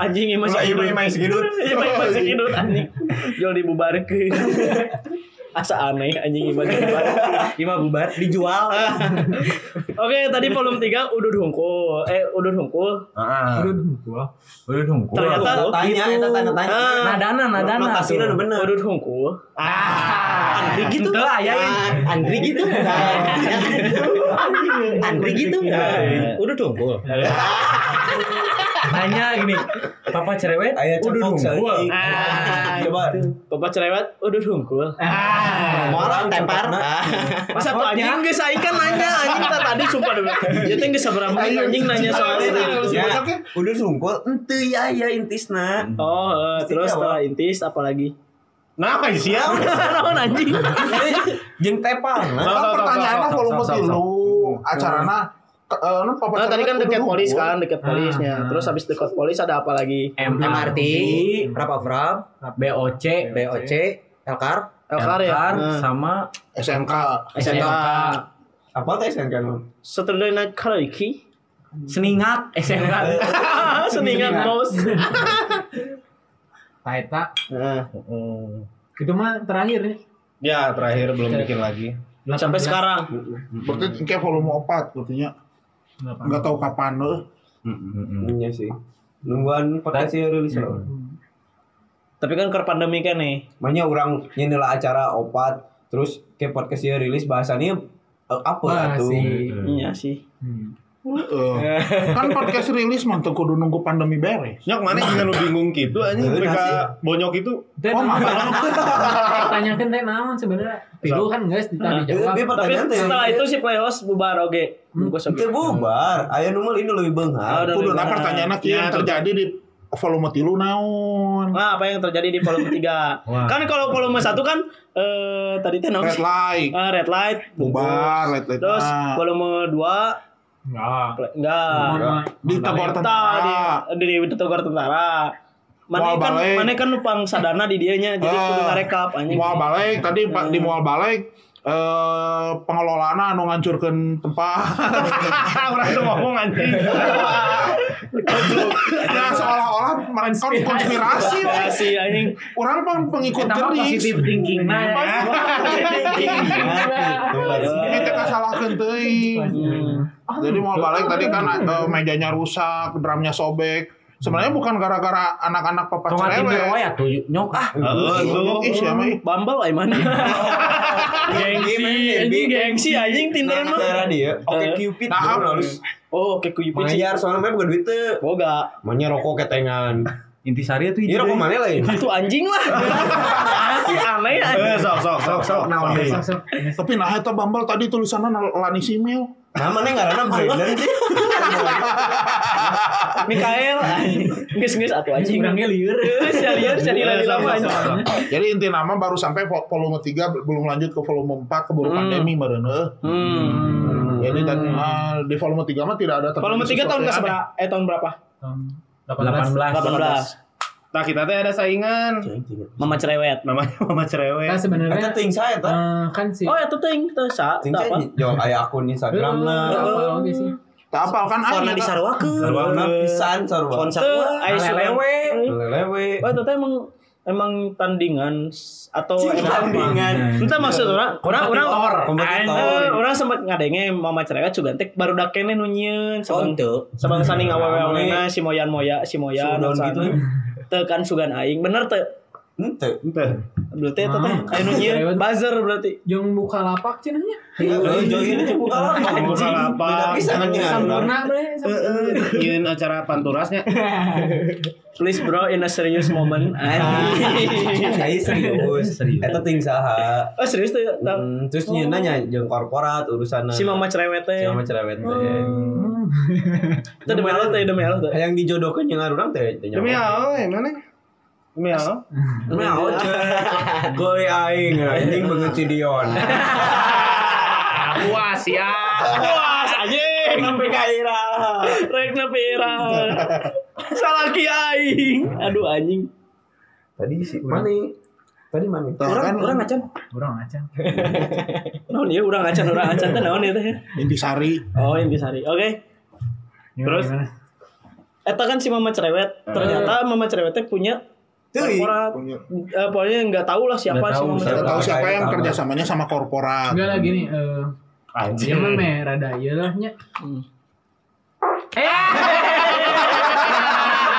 B: anjing Iya, ieu masih
D: Iya,
B: hidup.
D: main segidut.
B: Ieu mah masih hidup anjing. Jol dibubarkeun. Asa aneh anjing ieu mah dibubar. Ieu mah bubar.
D: Dijual.
B: Oke, tadi volume 3 udud hungkul. Eh, udud hungkul.
D: Heeh.
F: Aduh, gua.
G: Udah dong.
B: Ternyata
D: tanya
B: itu.
D: eta tanya tanya.
B: Ah.
G: Nadana, nadana.
D: Lokasinya
G: tuh.
D: nu bener.
B: Udud hungkul.
E: Ah.
B: ya.
D: Andri gitu.
G: Itulah, ayain.
D: Ah, Andri gitu. Andri gitu.
B: Iya,
D: Udah dong.
G: Nanya gini. Papa cerewet?
D: Aya
G: Udah
D: cepok
G: dong. gua.
D: sekali. Coba.
B: Papa Ah. cerewet, udud hungkul.
D: Moral tepar.
B: Satu anjing geus aing kan nanya anjing tah tadi sumpah demi. Ieu teh geus sabarang menit anjing nanya soal Iya.
C: Ayo,
B: itu.
C: ayo,
D: Ya.
C: ayo.
D: Udah sungkul, ente ya ya intisna.
B: Oh, eh, terus
D: Mesti
B: setelah intis apalagi?
E: Nah, siap.
B: Naon anjing?
D: Jeng tepar. nah.
C: Kan
E: sok,
C: pertanyaannya
E: sok, sok,
C: volume
E: sok, sok.
C: tilu acarana ke- eh, non papa
B: Hmm. Nah, tadi
C: cerewet
B: kan dekat
C: kudu
B: polis
C: dukung.
B: kan, dekat
C: ah.
B: polisnya. Terus habis dekat polis ada apa lagi?
D: MRT, Rapavrab,
G: BOC,
D: BOC, Elkar,
B: Elkar ya.
G: Elkar,
B: Nah.
G: sama
C: SMK
B: SMK.
D: apa teh SNK lu?
B: Saturday Night Karaoke.
G: Seningat, SMK.
B: Ah, Seningan bos.
F: Taeta.
B: Ah.
F: Itu mah terakhir ya.
E: Ya, terakhir belum bikin lagi.
B: Nah,
C: Iya.
B: Sampai sekarang.
C: berarti kayak volume 4 berartinya nggak tahu kapan eh. loh
D: Iya sih. Nungguan podcast sih rilis loh.
B: Tapi kan ker pandemi kan nih.
D: Makanya orang nyendela acara opat, terus ke podcast sih rilis bahasannya eh, apa tuh?
F: Masih.
C: Hmm.
B: Iya sih.
F: Hmm.
C: Heeh. kan podcast rilis mah teu kudu nunggu pandemi beres
E: Nyok mana yang lu bingung gitu anjing
D: Eh, nasi.
E: mereka bonyok itu.
F: Dan
C: Oh, mama.
F: tanyakan teh naon sebenarnya. Pilu kan guys
B: Nah,
F: ditanya jawab.
C: Oh,
D: Tapi
B: Tapi
D: pertanyaan
C: ya.
D: teh.
B: setelah itu si playoffs bubar oke.
C: Hmm.
B: Bungkus oke.
D: Itu bubar, ayo nomor ini lebih
B: Ah,
D: benghar.
B: udah. Iya,
C: kudu nah pertanyaannya
E: Iya,
C: kieu yang terjadi di volume tilu naon
B: Nah, apa yang terjadi di volume 3? Kan kalau volume 1 kan eh tadi teh naon
C: red
B: sih?
C: light
B: Ah, red light.
C: bubar red light
B: Terus
C: nah.
B: volume 2 Ah.
F: Enggak.
B: enggak.
C: di tabor tentara
B: Tentara di di Togor tentara. Mana
C: Mual
B: kan
C: balik.
B: mana kan numpang sadana di dianya jadi
C: Ah.
B: kudu ngarekap anjing.
C: mual balik tadi Pak, di mual balik eh pengelolaan anu ngancurkeun tempat
E: Orang tuh ngomong anjing.
C: nah seolah-olah mereka konspirasi weh.
B: Konspirasi Ya, anjing.
C: orang pang pengikut jeris
F: thinking nah. ya.
E: Nah.
C: kita kasalahkan teuing jadi mau balik tadi kan eh, mejanya rusak drumnya sobek sebenarnya bukan gara-gara anak-anak papa Iya,
G: Tongan Tinder
C: cerewet
G: wae
F: ya,
G: atuh nyok ah.
E: Heeh,
C: Goblok, ih, siapa, ih?
B: Bumble ay mana?
D: Gengsi,
B: Anjing gengsi anjing Tinder
D: Nah,
B: mah.
D: acara dia. Oke Cupid.
C: Nah,
D: bro,
C: apa?
D: harus
B: Oh, ke kuyup
D: Bayar soalnya mah bukan duit teh.
B: Boga.
D: Maunya rokok ketengan.
G: Intisari atuh.
D: Ini rokok mana lain?
B: Itu anjing lah.
G: Ah,
B: Asli aneh anjing.
E: Eh, sok sok sok sok.
G: naon deui?
C: tapi nah itu bambal tadi tulisannya nal- lani simil
D: Nah, mana enggak ada Brandon sih.
B: Mikael anjing. Geus-geus atuh anjing.
F: Kurangnya liur.
B: Geus ya liar jadi lagi lama anjing.
C: jadi inti nama baru sampai vo- volume 3 belum lanjut ke volume 4 keburu
B: Hmm.
C: pandemi mereneuh
B: Hmm.
C: jadi tadi, eh, di volume 3 mah tidak ada terjadi
B: Volume 3 tahun
C: sesuatu
B: ke
C: yang aneh.
B: seberapa? Eh tahun berapa?
G: 18.
B: 18.
E: Nah, kita teh ada saingan.
B: Mama cerewet.
E: Namanya Mama
F: Nah
E: Cerewet.
D: Eta
F: sebenarnya
D: ting saya eta.
F: eh, kan sih.
B: Oh, itu ting, itu sa.
D: Ting saya
B: Nah, apa?
D: jawab aya akun Instagram lah.
F: Apa oge sih?
C: tak apal kan
D: Warna di
C: aja
D: Sarwakeun. Warna pisan Sarwa.
B: Itu Aisyah.
D: Lelewe.
B: Hmm.
D: Lelewe.
B: Oh, itu teh emang emang tandingan s- atau
D: Cing,
B: emang apa?
D: tandingan.
B: Entah maksud orang, orang orang
D: Kompetitor.
B: Eh, orang sempat ngadenge mama cerewet juga teh baru dakene nu nyieun sabang
D: Contoh.
B: sabang saning awewe-awena
D: Ramai.
B: si moyan moya si moyan
D: Sudan
B: anu
D: gitu.
B: sana. Teu kan sugan aing bener teu
D: Ente.
E: Ente.
B: Berarti itu teh
F: Ah.
B: anu ieu
F: Cerewet.
B: buzzer berarti.
F: Jeung buka lapak cenah nya.
G: Iya,
D: Jauhin aja buka lapak.
E: Buka lapak.
D: Beda pisan anjing.
F: Sampurna bre.
E: Yin acara panturasnya.
B: Please bro in a serious moment. Anjing.
D: Cai serius, serius. Eta ting saha.
B: Oh serius tuh tau.
D: Hmm, terus nyeuna nya jeung korporat urusan
B: Si mama cerewet
D: si
B: teh.
D: mama Oh. cerewet teh.
B: Itu demi Allah teh demi Allah teh.
D: Hayang dijodohkeun jeung arurang teh teh nyawa.
E: Demi
C: Ya
E: Allah, mana? Demi Allah.
D: Demi Allah. Goli aing anjing beungeut si Dion.
E: Puas ya.
B: Puas anjing. Rekna pekaira. Rekna pera. Salah kiai. Aduh anjing.
D: Tadi si Mani. Tadi Mani.
C: Tah, kan
B: Urang acan.
F: Urang acan.
B: Naon ieu urang acan urang acan teh naon ieu teh?
C: Intisari.
B: Oh intisari. Oke.
F: Terus
B: Eta kan si mama cerewet.
D: Iya.
B: Ternyata mama cerewet teh punya korporat.
C: Punya.
B: Eh, pokoknya nggak tahu lah siapa
D: Nggak
B: sih
D: tahu,
B: mama
C: Kita
D: siapa.
B: cerewet.
C: tahu siapa yang
D: Sama.
C: kerjasamanya sama korporat.
F: enggak lah gini eh
E: Anjing.
G: Iya.
F: dia mah meh rada ieu lah nya. Nah,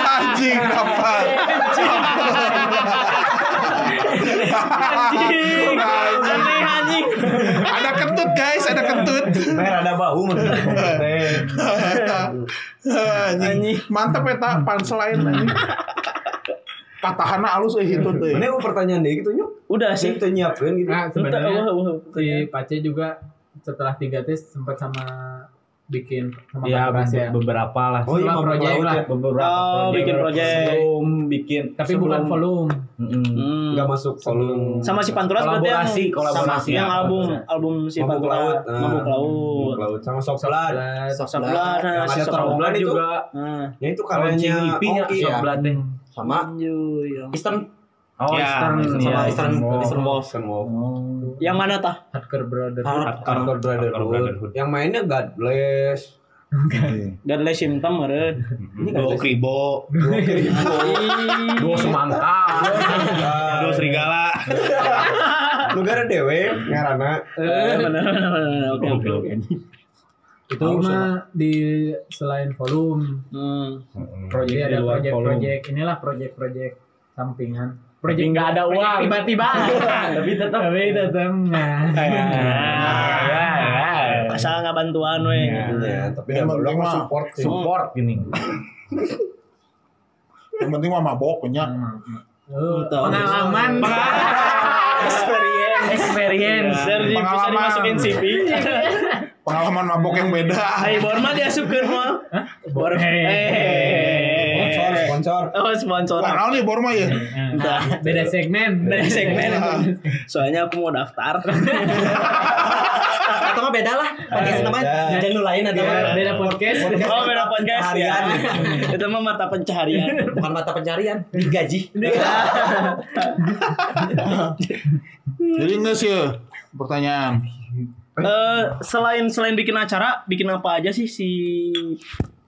C: Anjing apa?
B: Anjing.
C: Anjing.
B: Aneh anjing.
C: Ada kentut guys, ada kentut.
D: Mer ada bau maksudnya. Teh.
C: Anjing. Mantap eta punchline anjing. Patahana alus eh, euy hitu
D: Mana
C: teh.
D: yang pertanyaan deh gitu nyok.
B: Udah
D: Masih
B: sih.
D: itu nyiapin gitu.
F: Nah,
B: Entah,
F: sebenarnya
B: wah, wah,
F: si Pace juga setelah tiga tes sempat sama bikin sama
G: Ya,
F: Kang Pras ya.
G: beberapa lah.
D: Oh iya,
F: Setelah
D: Mabuk
F: proyek
D: Laut
F: lah.
D: ya.
G: Beberapa
B: Oh, bikin project.
G: Sebelum bikin
F: Tapi bukan volume.
G: Mm-mm.
B: Hmm.
D: Nggak masuk kolom.
B: Sama si Panturas berarti yang
G: Kolaborasi, kolaborasi.
B: sama yang
G: Ya,
B: album album si
D: Mabuk Laut.
B: Panturas
D: Nah.
B: Mabuk Laut.
D: Mabuk Laut sama Soklat.
B: Sebelah nah,
D: Yang
B: si
D: ada
B: Soklat.
D: Soklat itu.
G: juga
B: Nah,
D: Ya itu
G: launching
D: karyanya
G: IP-nya
D: Oki ya.
G: Soblat teh.
D: Sama
B: Yo, yo.
D: Eastern.
G: Oh,
E: Ya,
G: Eastern,
D: Sama
G: ya,
D: Eastern.
G: Wolf.
D: Eastern Wolf. Eastern Wolf.
B: Yang mana tah?
F: Hardcore Brother.
D: Hardcore Brotherhood. Yang mainnya Godless.
B: Dan Les Symptom meureun.
E: Dua kribo,
G: Dua semangka.
E: dua serigala.
D: Ah, Lu gara dewe ya, ngarana.
B: Eh, bener bener, bener. Oke, oke. oke.
F: Itu mah di selain volume,
B: Hmm.
F: jadi
G: Project di
F: ada
G: luar volume.
F: project-project inilah project-project sampingan. Project
G: Tapi nggak ada
F: project
G: uang.
F: Tiba-tiba.
G: Tapi tetap.
F: Tapi tetap nggak.
G: Eh, Ah, ya,
B: Asal nggak bantuan we.
D: Ya, tapi
C: Yang penting
D: yang berdoa
C: mah-
D: support sih.
G: Support gini.
C: Yang penting mah mabok punya.
F: Oh, Pengalaman.
B: Experience, experience. Sergi bisa
C: Pengalaman.
B: dimasukin CV.
C: Pengalaman mabok yang beda.
B: Ayo Borma diasupkeun mah. Bor.
F: Eh.
D: Sponsor,
B: Eh.
D: sponsor.
B: Oh, sponsor.
C: Wah, naon nih Borma ya?
B: Entah.
F: Nah, Beda segmen.
B: Dari segmen. Soalnya aku mau daftar.
D: Atau mah beda lah. Pakai teman. Jangan lu lain atau
G: Iya.
D: mah.
F: Beda podcast.
B: Oh, beda podcast ya.
D: Harian.
B: Itu mah mata pencaharian.
D: Bukan mata pencarian, gaji.
C: Jadi nggak sih ya? pertanyaan.
B: Eh, selain selain bikin acara, bikin apa aja sih si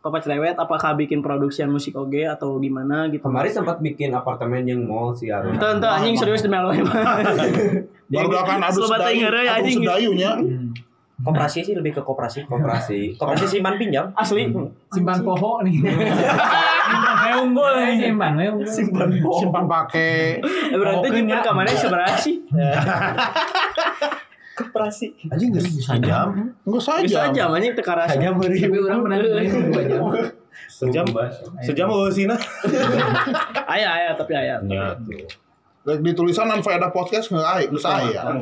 B: Papa Cerewet? Apakah bikin produksian musik oge atau gimana gitu?
D: Kemarin sempat bikin apartemen yang mall sih Arun.
B: Tuh, tuh anjing serius demi Allah
C: Baru akan adu
B: Slobat
C: sedayu,
B: tengere,
C: adu
B: ya, anjing. Hmm.
C: sedayunya.
H: Koperasi sih lebih ke koperasi.
D: Koperasi.
H: Koperasi simpan pinjam.
B: Oh.
H: Hmm.
B: Asli.
F: Simpan poho nih. Kayak unggul nih. Simpan we unggul.
C: Simpan pakai.
B: Eh, Berarti
G: Pokoknya.
B: jemper kamarnya seberapa sih?
C: Anjing nggak bisa jam. Nggak saja.
B: Bisa aja anjing tekarasa. Aja
F: Tapi orang pernah main dua jam.
E: Sejam, sejam usina.
B: Aya aya tapi aya.
E: Ya tuh.
C: Like di tulisan sampai ada podcast nggak aik, nggak saya.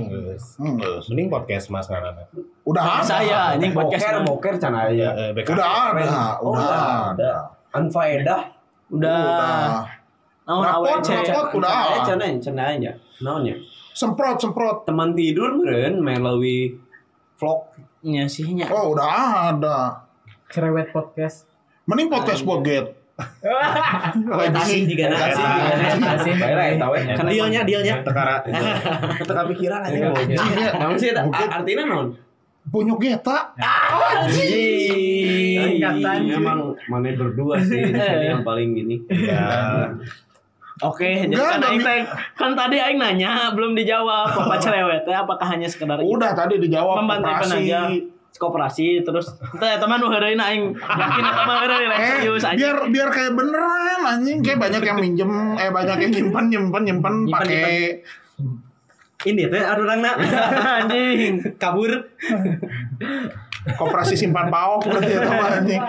C: Nggak.
E: Mending podcast mas ngarana.
C: Udah ada.
B: Saya anjing podcast.
D: Boker, boker can aya.
E: Eh, BK.
C: Udah ada.
D: Oh,
C: Udah
D: udah
C: ada.
D: Anfaedah.
B: Udah. Nah, Naon
C: Rapot,
B: awece?
C: rapot udah.
D: Cenanya, cenanya, cenanya. Naonnya?
C: Semprot, semprot.
D: Teman tidur meren melalui vlog.
B: Nya Iya sih nya.
C: Oh, udah ada.
F: Cerewet podcast.
C: Mending podcast boget. Oh,
B: Oh,
H: Tasih
C: Lagi.
H: juga nasi.
F: Kasih.
D: Baiklah, tahu ya.
H: Kan dealnya, dealnya.
E: Tekara.
D: Teka pikiran aja.
C: Iya,
D: Namun sih, eta?
C: Bukit.
D: A- artinya non.
C: punya geta.
D: Ikatan. Memang mana berdua sih di sini yang paling gini.
E: Ya.
B: Oke, jadi kan
C: Enggak, demi-
B: aing teh kan tadi aing nanya belum dijawab apa cerewet teh apakah hanya sekedar
C: Udah tadi dijawab
B: membantaikan
C: koperasi.
B: aja koperasi terus teh teman nu heureun aing yakin eta mah heureun lah,
C: Eh,
B: serius aja.
C: biar biar kayak beneran anjing kayak banyak yang minjem eh banyak yang nyimpen nyimpen nyimpen pakai
H: Ini teh orang nak anjing kabur.
C: Koperasi simpan paok berarti ya teman anjing.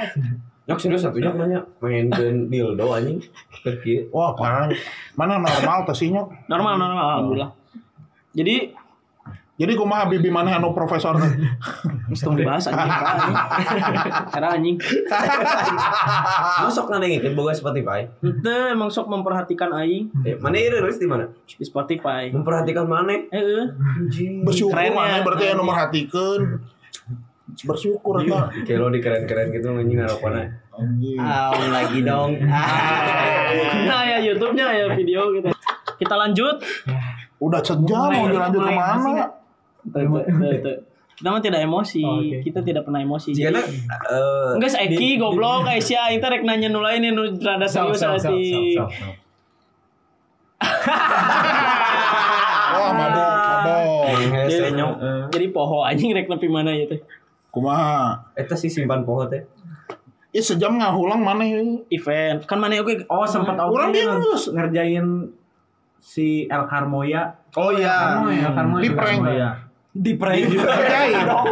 D: Nyok serius satunya nanya main band dildo anjing. Pergi.
C: Wah, parah. Mana normal tuh sih, Nyok?
B: Normal, normal, alhamdulillah. Jadi,
C: Jadi kumaha bibi mana anu profesor teh?
B: mesti dibahas anjing. Karena anjing.
D: Masuk nanya ngikut boga Spotify.
B: Itu emang sok memperhatikan aing
D: Eh, mana ini rilis di mana?
B: di Spotify.
D: Memperhatikan mana?
B: Eh, eh.
C: Bersyukur
B: Keren ya.
C: mana berarti anu merhatikeun. Bersyukur eta.
D: Kayak lo di keren-keren gitu anjing harapannya.
C: Anjing.
B: Ah.
H: Aum lagi dong.
B: Nah ya YouTube-nya ya video gitu. Kita lanjut.
C: Udah sejam mau dilanjut kemana?
B: Tuh, tuh, tuh, tuh. Kita mah tidak emosi.
F: Oh, oke.
B: Kita tidak pernah emosi.
D: Jika
B: Jadi-
D: Iya, eh
B: Enggak Eki goblok Aisyah Aing teh rek nanya nu lain nu rada
F: Sok,
B: serius
F: sok, sok,
B: hati.
F: sok, sok.
B: Ah.
C: Wah, mabok, mabok.
D: hese nyok.
B: Jadi poho anjing rek nepi mana ya teh?
C: Kumaha?
D: Eta Eh, sih simpan pohon teh.
C: Ih, sejam ngahulang mana ini?
B: Event. Kan mana oke
G: Oh sempat oke
C: Orang bingung.
G: ngerjain si El Carmoya.
C: Oh iya.
G: Ah.
F: Kamu ya, kamu
C: Di
F: juga
C: prank.
F: kamu ya.
B: di prank juga.
C: Kerjain dong.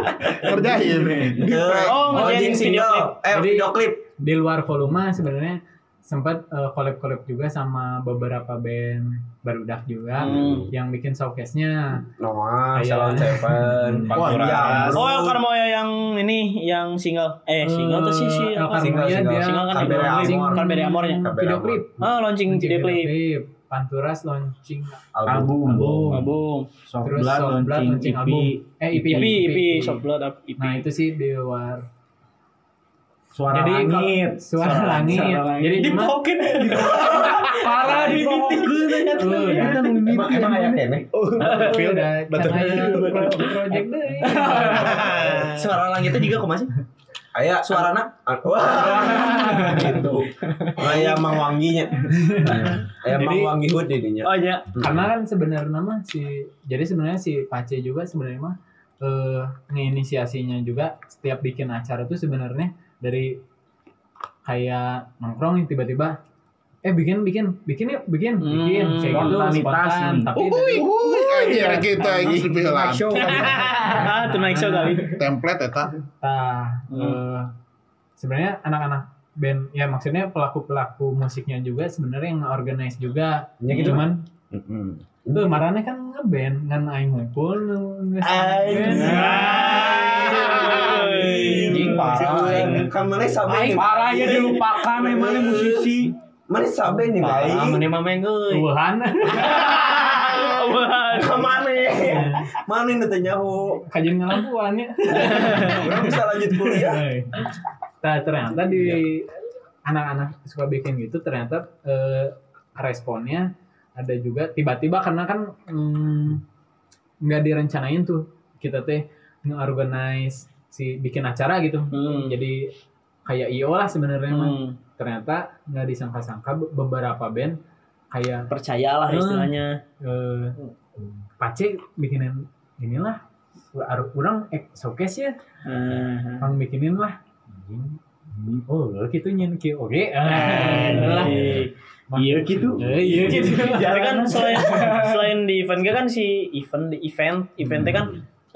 C: Kerjain. Di prank.
B: Oh, ngerjain
D: jing
B: video
D: single. Eh,
F: Jadi-
D: video klip.
F: Di luar volume sebenarnya sempat eh, collab-collab juga sama beberapa band barudak juga
B: Hmm.
F: yang bikin showcase-nya.
D: Noah,
F: Iya.
D: Salon Nah, Seven,
C: Wah,
D: Pantura.
B: Oh, El Carmoya yang ini yang single. Eh, single tuh sih
F: Eh,
B: sih.
F: El
B: Single
F: Carmoya
D: Single,
F: dia
B: Single kan di
D: Kabere
B: launching
D: Amor.
B: Kalberi Amornya.
D: Kabere
F: video
D: Amor.
F: klip.
B: Oh, launching
F: Launching
B: ya? video klip.
F: klip. Panturas launching
G: Album.
F: Album.
B: Album.
G: Soft
F: Terus
G: Blood
F: Soft Blood
G: launching EP.
F: launching album. Eh, EP,
B: EP, EP,
F: EP.
B: E Soft Blood up EP.
F: Nah, itu sih di luar
G: Suara
F: Jadi kalau-
G: Langit.
F: suara langit. Jadi
B: Di
F: cuma-
B: pocket.
F: parah di
B: Tuh, ya.
D: Emang emang aya kene.
F: Feel udah caranya pro- project kan? deh.
H: Suara langitnya juga kok masih.
D: Aya suarana. ah, Wah. Gitu. Aya Mang Wanginya. Aya Mang Wangi Hood didinya.
B: Oh iya.
F: Karena kan sebenarnya mah si jadi sebenarnya si Pace juga sebenarnya mah eh, ngeinisiasinya juga setiap bikin acara tuh sebenarnya dari kayak nongkrong nih tiba-tiba eh bikin bikin bikin yuk bikin bikin
B: Hmm,
F: kayak gitu
G: spontanitas
F: spontan
G: nih.
F: tapi
C: Uhuy, uhuy, anjir kita ini
G: Live
C: dibilang.
G: show kali ya.
B: Ah, tonight show kali.
C: Template eta.
F: Nah,
B: Hmm.
F: eh, sebenarnya anak-anak band ya maksudnya pelaku-pelaku musiknya juga sebenarnya yang organize juga.
D: Ya gitu.
F: Cuman tuh marane kan ngeband ngan aing ngumpul nge-
D: Anjing parah. aing. Kan mana sampe
G: Parah ya dilupakan emangnya musisi.
D: Mana sampe nih
H: Ah,
D: aing.
H: mana mameng euy.
F: Tuhan.
D: Kemana?
B: ya?
D: Mana ini teh nyaho?
F: Kajian ngelampuannya.
D: Orang bisa lanjut kuliah.
F: Nah,
B: Iya.
F: ternyata di anak-anak suka bikin gitu ternyata eh, responnya ada juga tiba-tiba karena kan mm, nggak direncanain tuh kita teh nge-organize si bikin acara gitu.
B: Hmm.
F: Jadi kayak IO lah sebenarnya mah.
B: Hmm.
F: Ternyata nggak disangka-sangka be- beberapa band kayak
B: Percayalah istilahnya.
F: eh, Pace bikinin inilah Ar- orang eh, showcase ya
B: Ah.
F: Pang bikinin lah. Anjing. Oh, gitu nyen ki oge. Ah, lah.
B: Eh,
F: Iya gitu. Iya gitu.
B: Tapi kan selain selain di event ge kan si event di event eventnya kan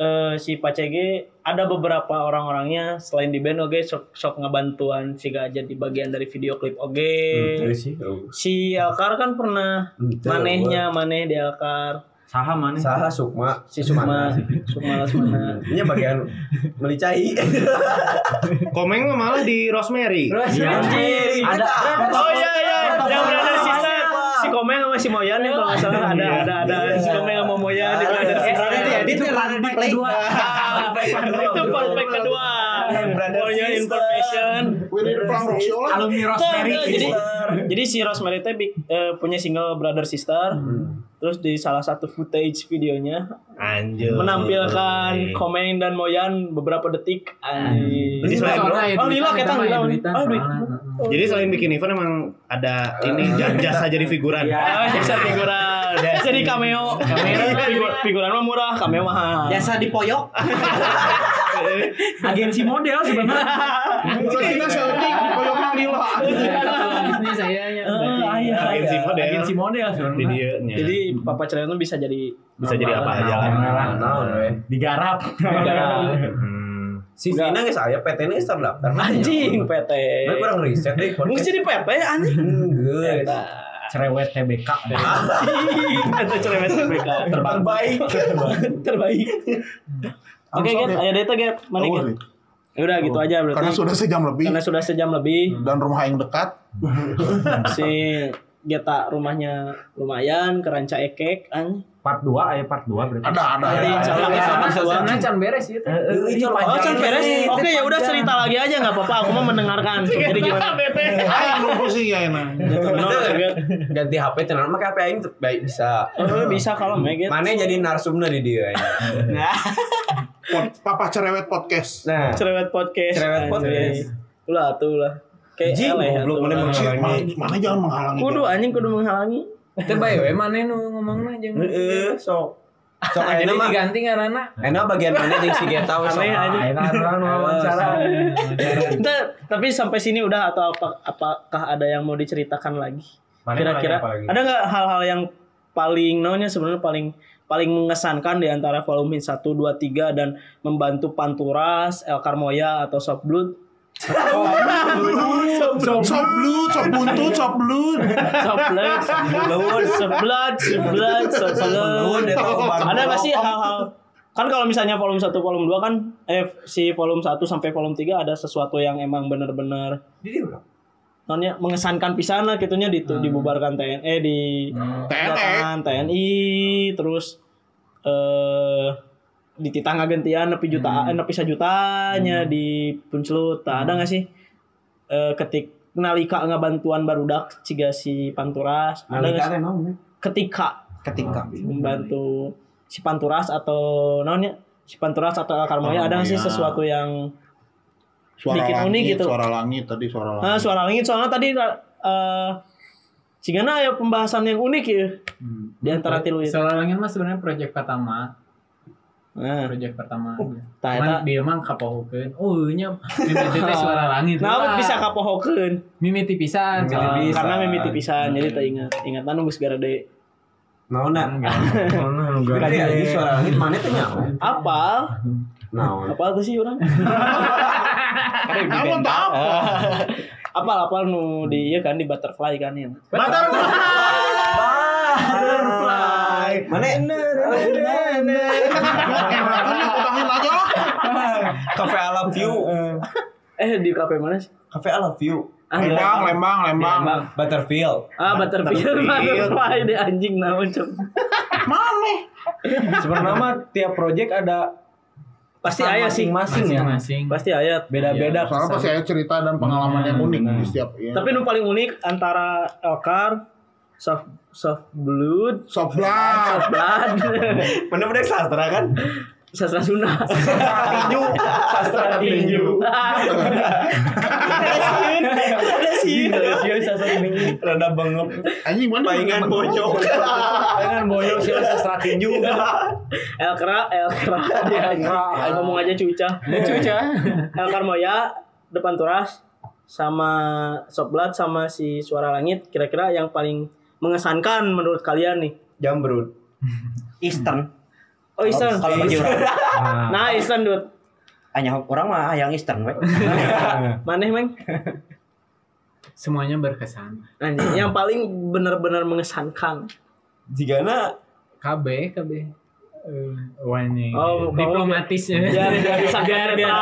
B: eh, si Pacege ada beberapa orang-orangnya selain di band oke sok sok ngebantuan si Gajah di bagian dari video klip oke
D: sih.
B: si Alkar kan pernah manehnya maneh di Alkar
G: Saham mana?
D: Saha Sukma.
B: si Sukma Sukma Lasmana
D: Ini bagian melicai.
E: Komeng mah malah di Rosemary.
B: Anjir,
D: Ada.
B: Oh iya iya, yang brother sister. Si Komeng sama si Moyan ya kalau nggak salah ada ada ada si Komeng sama Moyan di brother sister.
D: Iya. itu ya, play.
B: Nah, Itu fun Ah, fact kedua. For your information.
C: We need a punk rock show lah.
B: Iya.
G: Alumni Rosemary.
B: Tuh, jadi jadi si Rosemary teh big- eh, punya single Brother Sister.
E: Hmm.
B: Terus di salah satu footage videonya
E: Anjir.
B: menampilkan Komeng dan Moyan beberapa detik. Anjing.
E: Hmm. Jadi selain
B: Oh, lila, kita lila. Oh, duit.
E: Jadi selain bikin event emang ada ini jasa jadi figuran.
B: Ah, jasa figuran. Jadi cameo. Cameo figur- figuran mah murah, cameo mahal.
E: Ya,
H: Biasa dipoyok.
G: agensi model sebenarnya.
C: Terus kita selfie, koyoknya lila.
B: Iya.
F: bisnis saya ya.
B: Eh,
E: iya.
B: ayah.
E: Agensi model.
F: Agensi model sebenarnya.
E: Di dia nya.
B: Jadi papa cerai itu bisa jadi
E: bisa jadi apa aja lah.
F: Nah,
D: Nah,
F: digarap.
E: Hmm.
D: Si Vina nggak saya, PT ini terdaftar.
B: anjing PT.
D: Mereka kurang riset deh.
B: Mungkin jadi PT anjing.
D: Enggak.
F: Cerewet TBK.
B: Anjing, Eta cerewet TBK. Terbaik. Terbaik. Oke, Get. Ayo Deta, Get. Mana,
C: Tahu
B: Get?
C: nih,
B: Ya Udah gitu aja berarti.
C: Oh, Karena sudah sejam lebih
B: Karena sudah sejam lebih
C: dan rumah yang dekat. Nah,
B: si Geta rumahnya lumayan keranca ekek kan? an.
G: Part 2 aya part 2 berarti.
C: Ada ada.
B: Jadi
D: Iya,
C: ada.
B: insyaallah besok
F: ya, Sama
B: bisa
F: sama can beres iya, itu.
D: Itu
B: Oh, Chan beres. Oke, ya udah cerita lagi aja nggak apa-apa. Aku mau mendengarkan.
D: Iya,
B: Jadi gimana?
C: Aing lupa sih ya enak.
B: Bener, Get.
D: Ganti HP tenar mah HP aing tuh baik bisa.
B: Eh, bisa kalau Nah. Get.
D: Mana jadi narsumna di dia. ya? aing.
C: Pod- Papa cerewet podcast.
D: Nah,
B: cerewet podcast.
D: Cerewet podcast.
B: Anjing. Ulah tuh ulah. Kayak
D: Jing,
B: eleh,
D: goblok,
B: atuh,
D: mana
B: ulah.
D: menghalangi.
C: Mana, mana jangan menghalangi.
B: Kudu anjing kudu menghalangi.
F: Itu bae we mana nu ngomongna jeung.
D: heeh, sok. Sok
F: Jadi
D: ayeuna mah.
F: diganti ngaranna.
D: Enak bagian mana jeung si Geta we sok.
B: Aneh aja.
F: wawancara.
B: Kita, tapi sampai sini udah atau apa apakah ada yang mau diceritakan lagi?
E: Mana
B: Kira-kira
E: nanya apa lagi?
B: ada nggak hal-hal yang paling naonnya sebenarnya paling paling mengesankan di antara volume 1 2 3 dan membantu Panturas, El Carmoya atau Soft Blood?
C: Sob blut, sob buntut, sob blut.
B: Soft Blood, Soft Blood, Soft Blood, Soft Blood, Soft Blood. ada nggak sih hal-hal kan kalau misalnya volume 1 volume 2 kan eh si volume 1 sampai volume 3 ada sesuatu yang emang bener-bener nonnya mengesankan pisana gitunya di, dibubarkan TNI eh di
C: TNE.
B: kedatangan TNI terus eh di titah gantian nepi juta eh, nepi sajutanya di punclut Tah, ada nggak sih eh ketik nalika ngabantuan barudak ciga si panturas ada nggak sih? ketika
D: Ketika.
B: membantu si Panturas atau namanya si Panturas atau El Carmoya ada nggak sih sesuatu yang
C: Suara
B: Bikin unik
C: langit,
B: gitu.
C: suara langit tadi suara
B: Ah,
C: langit.
B: suara langit soalnya tadi eh Sigana ya pembahasan yang unik ya di antara tilu itu.
F: Soal langit mah sebenarnya proyek pertama,
B: Nah,
F: proyek pertama.
B: tah
F: Cuman
B: eta.
F: dia mah kapohokeun. Oh, nya mimiti teh suara langit.
B: Nah,
F: lah.
B: bisa kapohokeun
F: Ah. mimiti pisan. kan?
D: Mimiti
F: soalnya.
D: pisan.
B: karena memiti pisan jadi tak ingat ingatan geus garade
D: Naon da? Gede anjing suara langit mana teh nyaho.
B: apa
D: Naon.
B: apa tuh sih orang
C: Ah, Apa tak
B: Ah.
C: apa?
B: apa apa nu di ieu kan di butterfly kan ya
D: Butterfly. Mana?
C: Makanya utangin aja lah.
D: Cafe I love you.
B: eh di kafe mana sih
D: Cafe I love you.
B: ah, di
C: Lembang,
B: Lembang.
C: lembang, lembang.
B: Iya,
D: Butterfield.
B: ah butterfly butterfly di anjing naon cem
D: Sebenarnya mah tiap project ada
B: pasti ayah sih
D: masing-masing ya.
F: masing-masing.
B: pasti ayat
D: Beda-beda.
C: Soalnya pasti ada cerita dan pengalaman yang unik di setiap. ya.
B: Nah. tapi nu paling unik antara Elkar soft soft blood
C: Sob blut.
B: blood
D: Bener-bener sastra kan?
B: sastra Sunda tinju sastra tinju ada sih ada sih sastra tinju
D: Rada bengep.
C: Anjing mana?
D: Palingan bonyok.
B: dengan boyok sih sastra tinju Elkra Elkra dia ngomong aja cuca cuca Elkar Moya depan turas sama Soblat sama si Suara Langit kira-kira yang paling mengesankan menurut kalian nih
D: Jambrut.
H: Eastern.
B: Oh Isan
H: Kalau bagi orang,
F: Ah.
B: Nah Isan Dut
H: hanya orang mah yang Eastern, we.
B: Maneh Meng
F: Semuanya berkesan.
B: Anjing, Yang paling benar-benar mengesankan
D: Jigana
F: KB, KB. Eh, wani.
B: Oh, kamu-
F: diplomatis ya.
B: Biar biar biar biar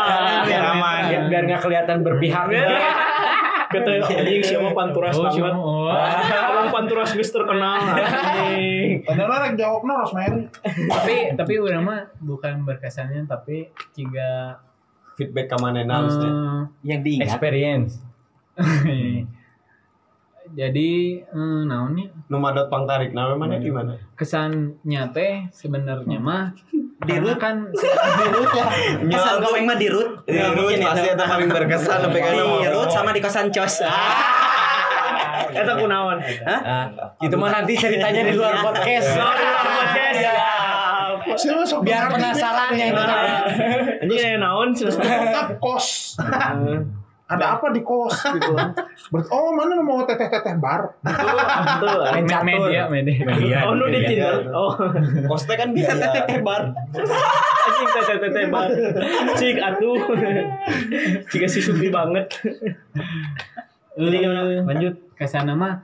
B: biar
D: aman.
F: biar-
G: biar nggak kelihatan berpihak.
B: Iya. Kata anjing siapa panturas
F: Oh,
B: banget
F: cuma- oh.
B: Orang panturas geus terkenal anjing.
C: Padahal yang jawabnya Rosemary.
F: tapi tapi orang mah bukan berkesannya tapi jika
D: feedback ke
B: Hmm.
D: mana harusnya.
F: eh,
H: yang diingat.
G: Experience.
F: jadi eh, naonnya
D: Nomadot pangtarik nama mana di mana?
F: kesannya teh sebenarnya mah karena kan
H: Kesan
D: Nyatu.
H: komeng mah di root.
D: Di Ruth pasti ada paling berkesan tapi kan
H: Di root sama di kosan cos.
D: Ah.
B: Eta kunaon? Hah?
F: Gitu
G: Itu mah nanti ceritanya di luar podcast.
B: Sorry, podcast.
F: Iya.
C: Siapa sob
G: Biar
C: blut?
G: penasaran yang dengar.
B: Ini naon sih?
C: Tetap kos. ada apa di kos gitu Ber- oh mana lu mau teteh teteh bar
G: Me-
B: Betul. Catur.
G: media media
F: Iya.
E: Iya,
G: media
B: Oh, nu di
G: media.
B: Tinder. Oh,
H: Kosnya kan bisa teteh teh bar.
B: anjing teh teh teh, teh bar. Cik atuh. Jika si Supri banget. Jadi gimana?
F: Eh, lanjut ke sana mah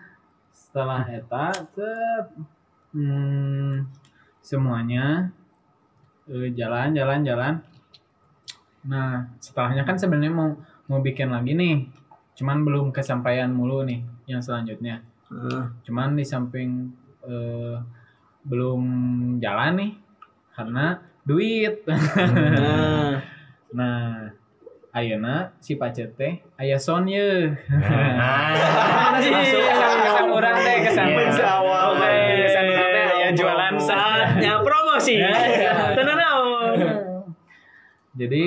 F: setelah eta tep, hmm, semuanya eh, jalan jalan jalan nah setelahnya kan sebenarnya mau mau bikin lagi nih cuman belum kesampaian mulu nih yang selanjutnya cuman di samping eh, belum jalan nih karena duit
B: Nah,
F: nah ayeuna si pacet teh aya son ye
B: anjing.
F: Masuk kesan-kesan orang teh kesan
E: Iya.
F: awal.
B: Oke.
F: Kesan orang teh ya jualan Iya, saat.
B: saatnya promosi. Tenang naon.
F: Jadi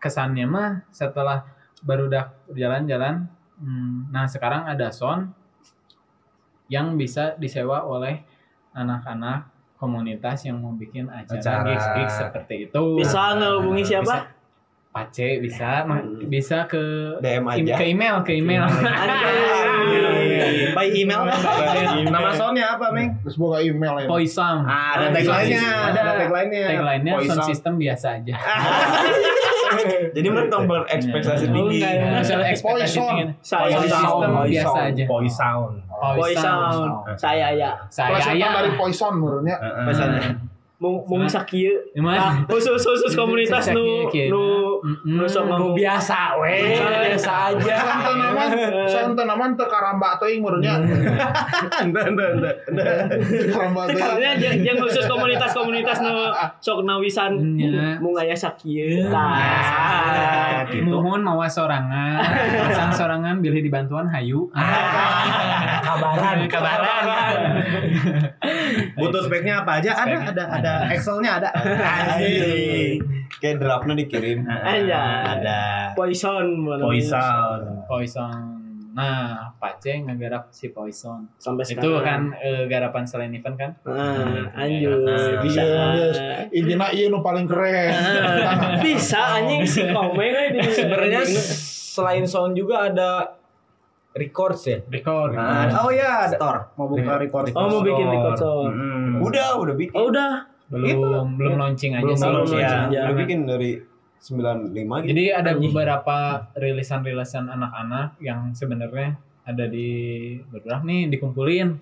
F: kesannya mah setelah baru udah jalan-jalan, hmm, nah sekarang ada sound yang bisa disewa oleh anak-anak komunitas yang mau bikin acara,
E: Acara.
F: gigs-gigs seperti itu.
B: Bisa ngehubungi
F: Bisa.
B: siapa?
F: Pace bisa, ma- bisa ke
D: DM
F: im-
D: aja.
F: ke
D: Iya.
F: email, ke email.
G: Iya.
B: Anjing.
H: By email.
B: kan?
E: Nama soundnya apa, Meng?
C: terus boga email ya
F: Poisam.
E: Ah, ada
F: Oh,
E: tagline-nya,
F: ada.
E: ada tagline-nya.
F: Tagline-nya sound
E: Poison.
F: system biasa aja.
D: Jadi menurut berekspektasi
G: Iya.
B: Oh,
D: tinggi.
B: enggak,
F: Nah, soal ekspektasi
C: Poison.
F: tinggi.
B: Saya
F: Sound system
D: Poison.
F: biasa aja.
E: Boy sound.
B: Boy sound. Saya ya.
F: Saya
C: Pelasotan
F: ya.
C: dari poison menurutnya
E: Pesannya.
B: Mung mung sakieu.
F: Cuman-
B: Ah, khusus khusus
F: Iya,
B: komunitas nu
F: Sakieu,
B: nu
F: Mm-mm.
B: nu sok ngomong.
G: biasa weh biasa aja
C: Sound tanaman, sound tanaman teu karamba teuing menurutnya.
B: Hmm.
H: Ah,
E: Anda, anda, anda.
C: Karamba teuing.
B: Maksudnya jeung jeung khusus komunitas-komunitas nu sok nawisan
F: Nya.
B: mung aya sakieu.
E: Ah,
B: Tah.
E: gitu.
F: Nuhun mawa sorangan, pasang sorangan bilih dibantuan hayu.
G: kabaran kabaran
E: Butuh speknya apa aja? Ada, ada, ada. Excelnya ada.
D: Anjing. Kayak draftnya dikirim.
B: Nah,
G: Nah.
B: Aja.
D: Ada.
B: Poison mana?
E: Boy sound.
F: Poison. Nah, Pace ngegarap si Poison.
B: Sampai
F: Itu
B: sekarang.
F: kan eh, garapan selain event kan?
B: Ah, anjir.
D: Ah,
B: Bisa.
C: Iya, yes. Intina ieu nu paling keren.
B: Ah, Bisa anjing si komeng we di
D: Sebenarnya
G: selain sound juga ada records ya iya,
F: Record.
H: Ah,
D: Nah,
E: Oh ya, ada.
D: Store.
E: Mau buka record.
B: Oh, mau bikin record sound.
E: Mm.
D: Udah, udah bikin.
B: Oh udah.
F: belum belum launching aja
E: Belum
F: sih.
E: launching.
D: ya.
B: Iya.
D: Udah bikin dari 95 gitu.
F: Jadi ada beberapa rilisan-rilisan anak-anak yang sebenarnya ada di berapa nih dikumpulin.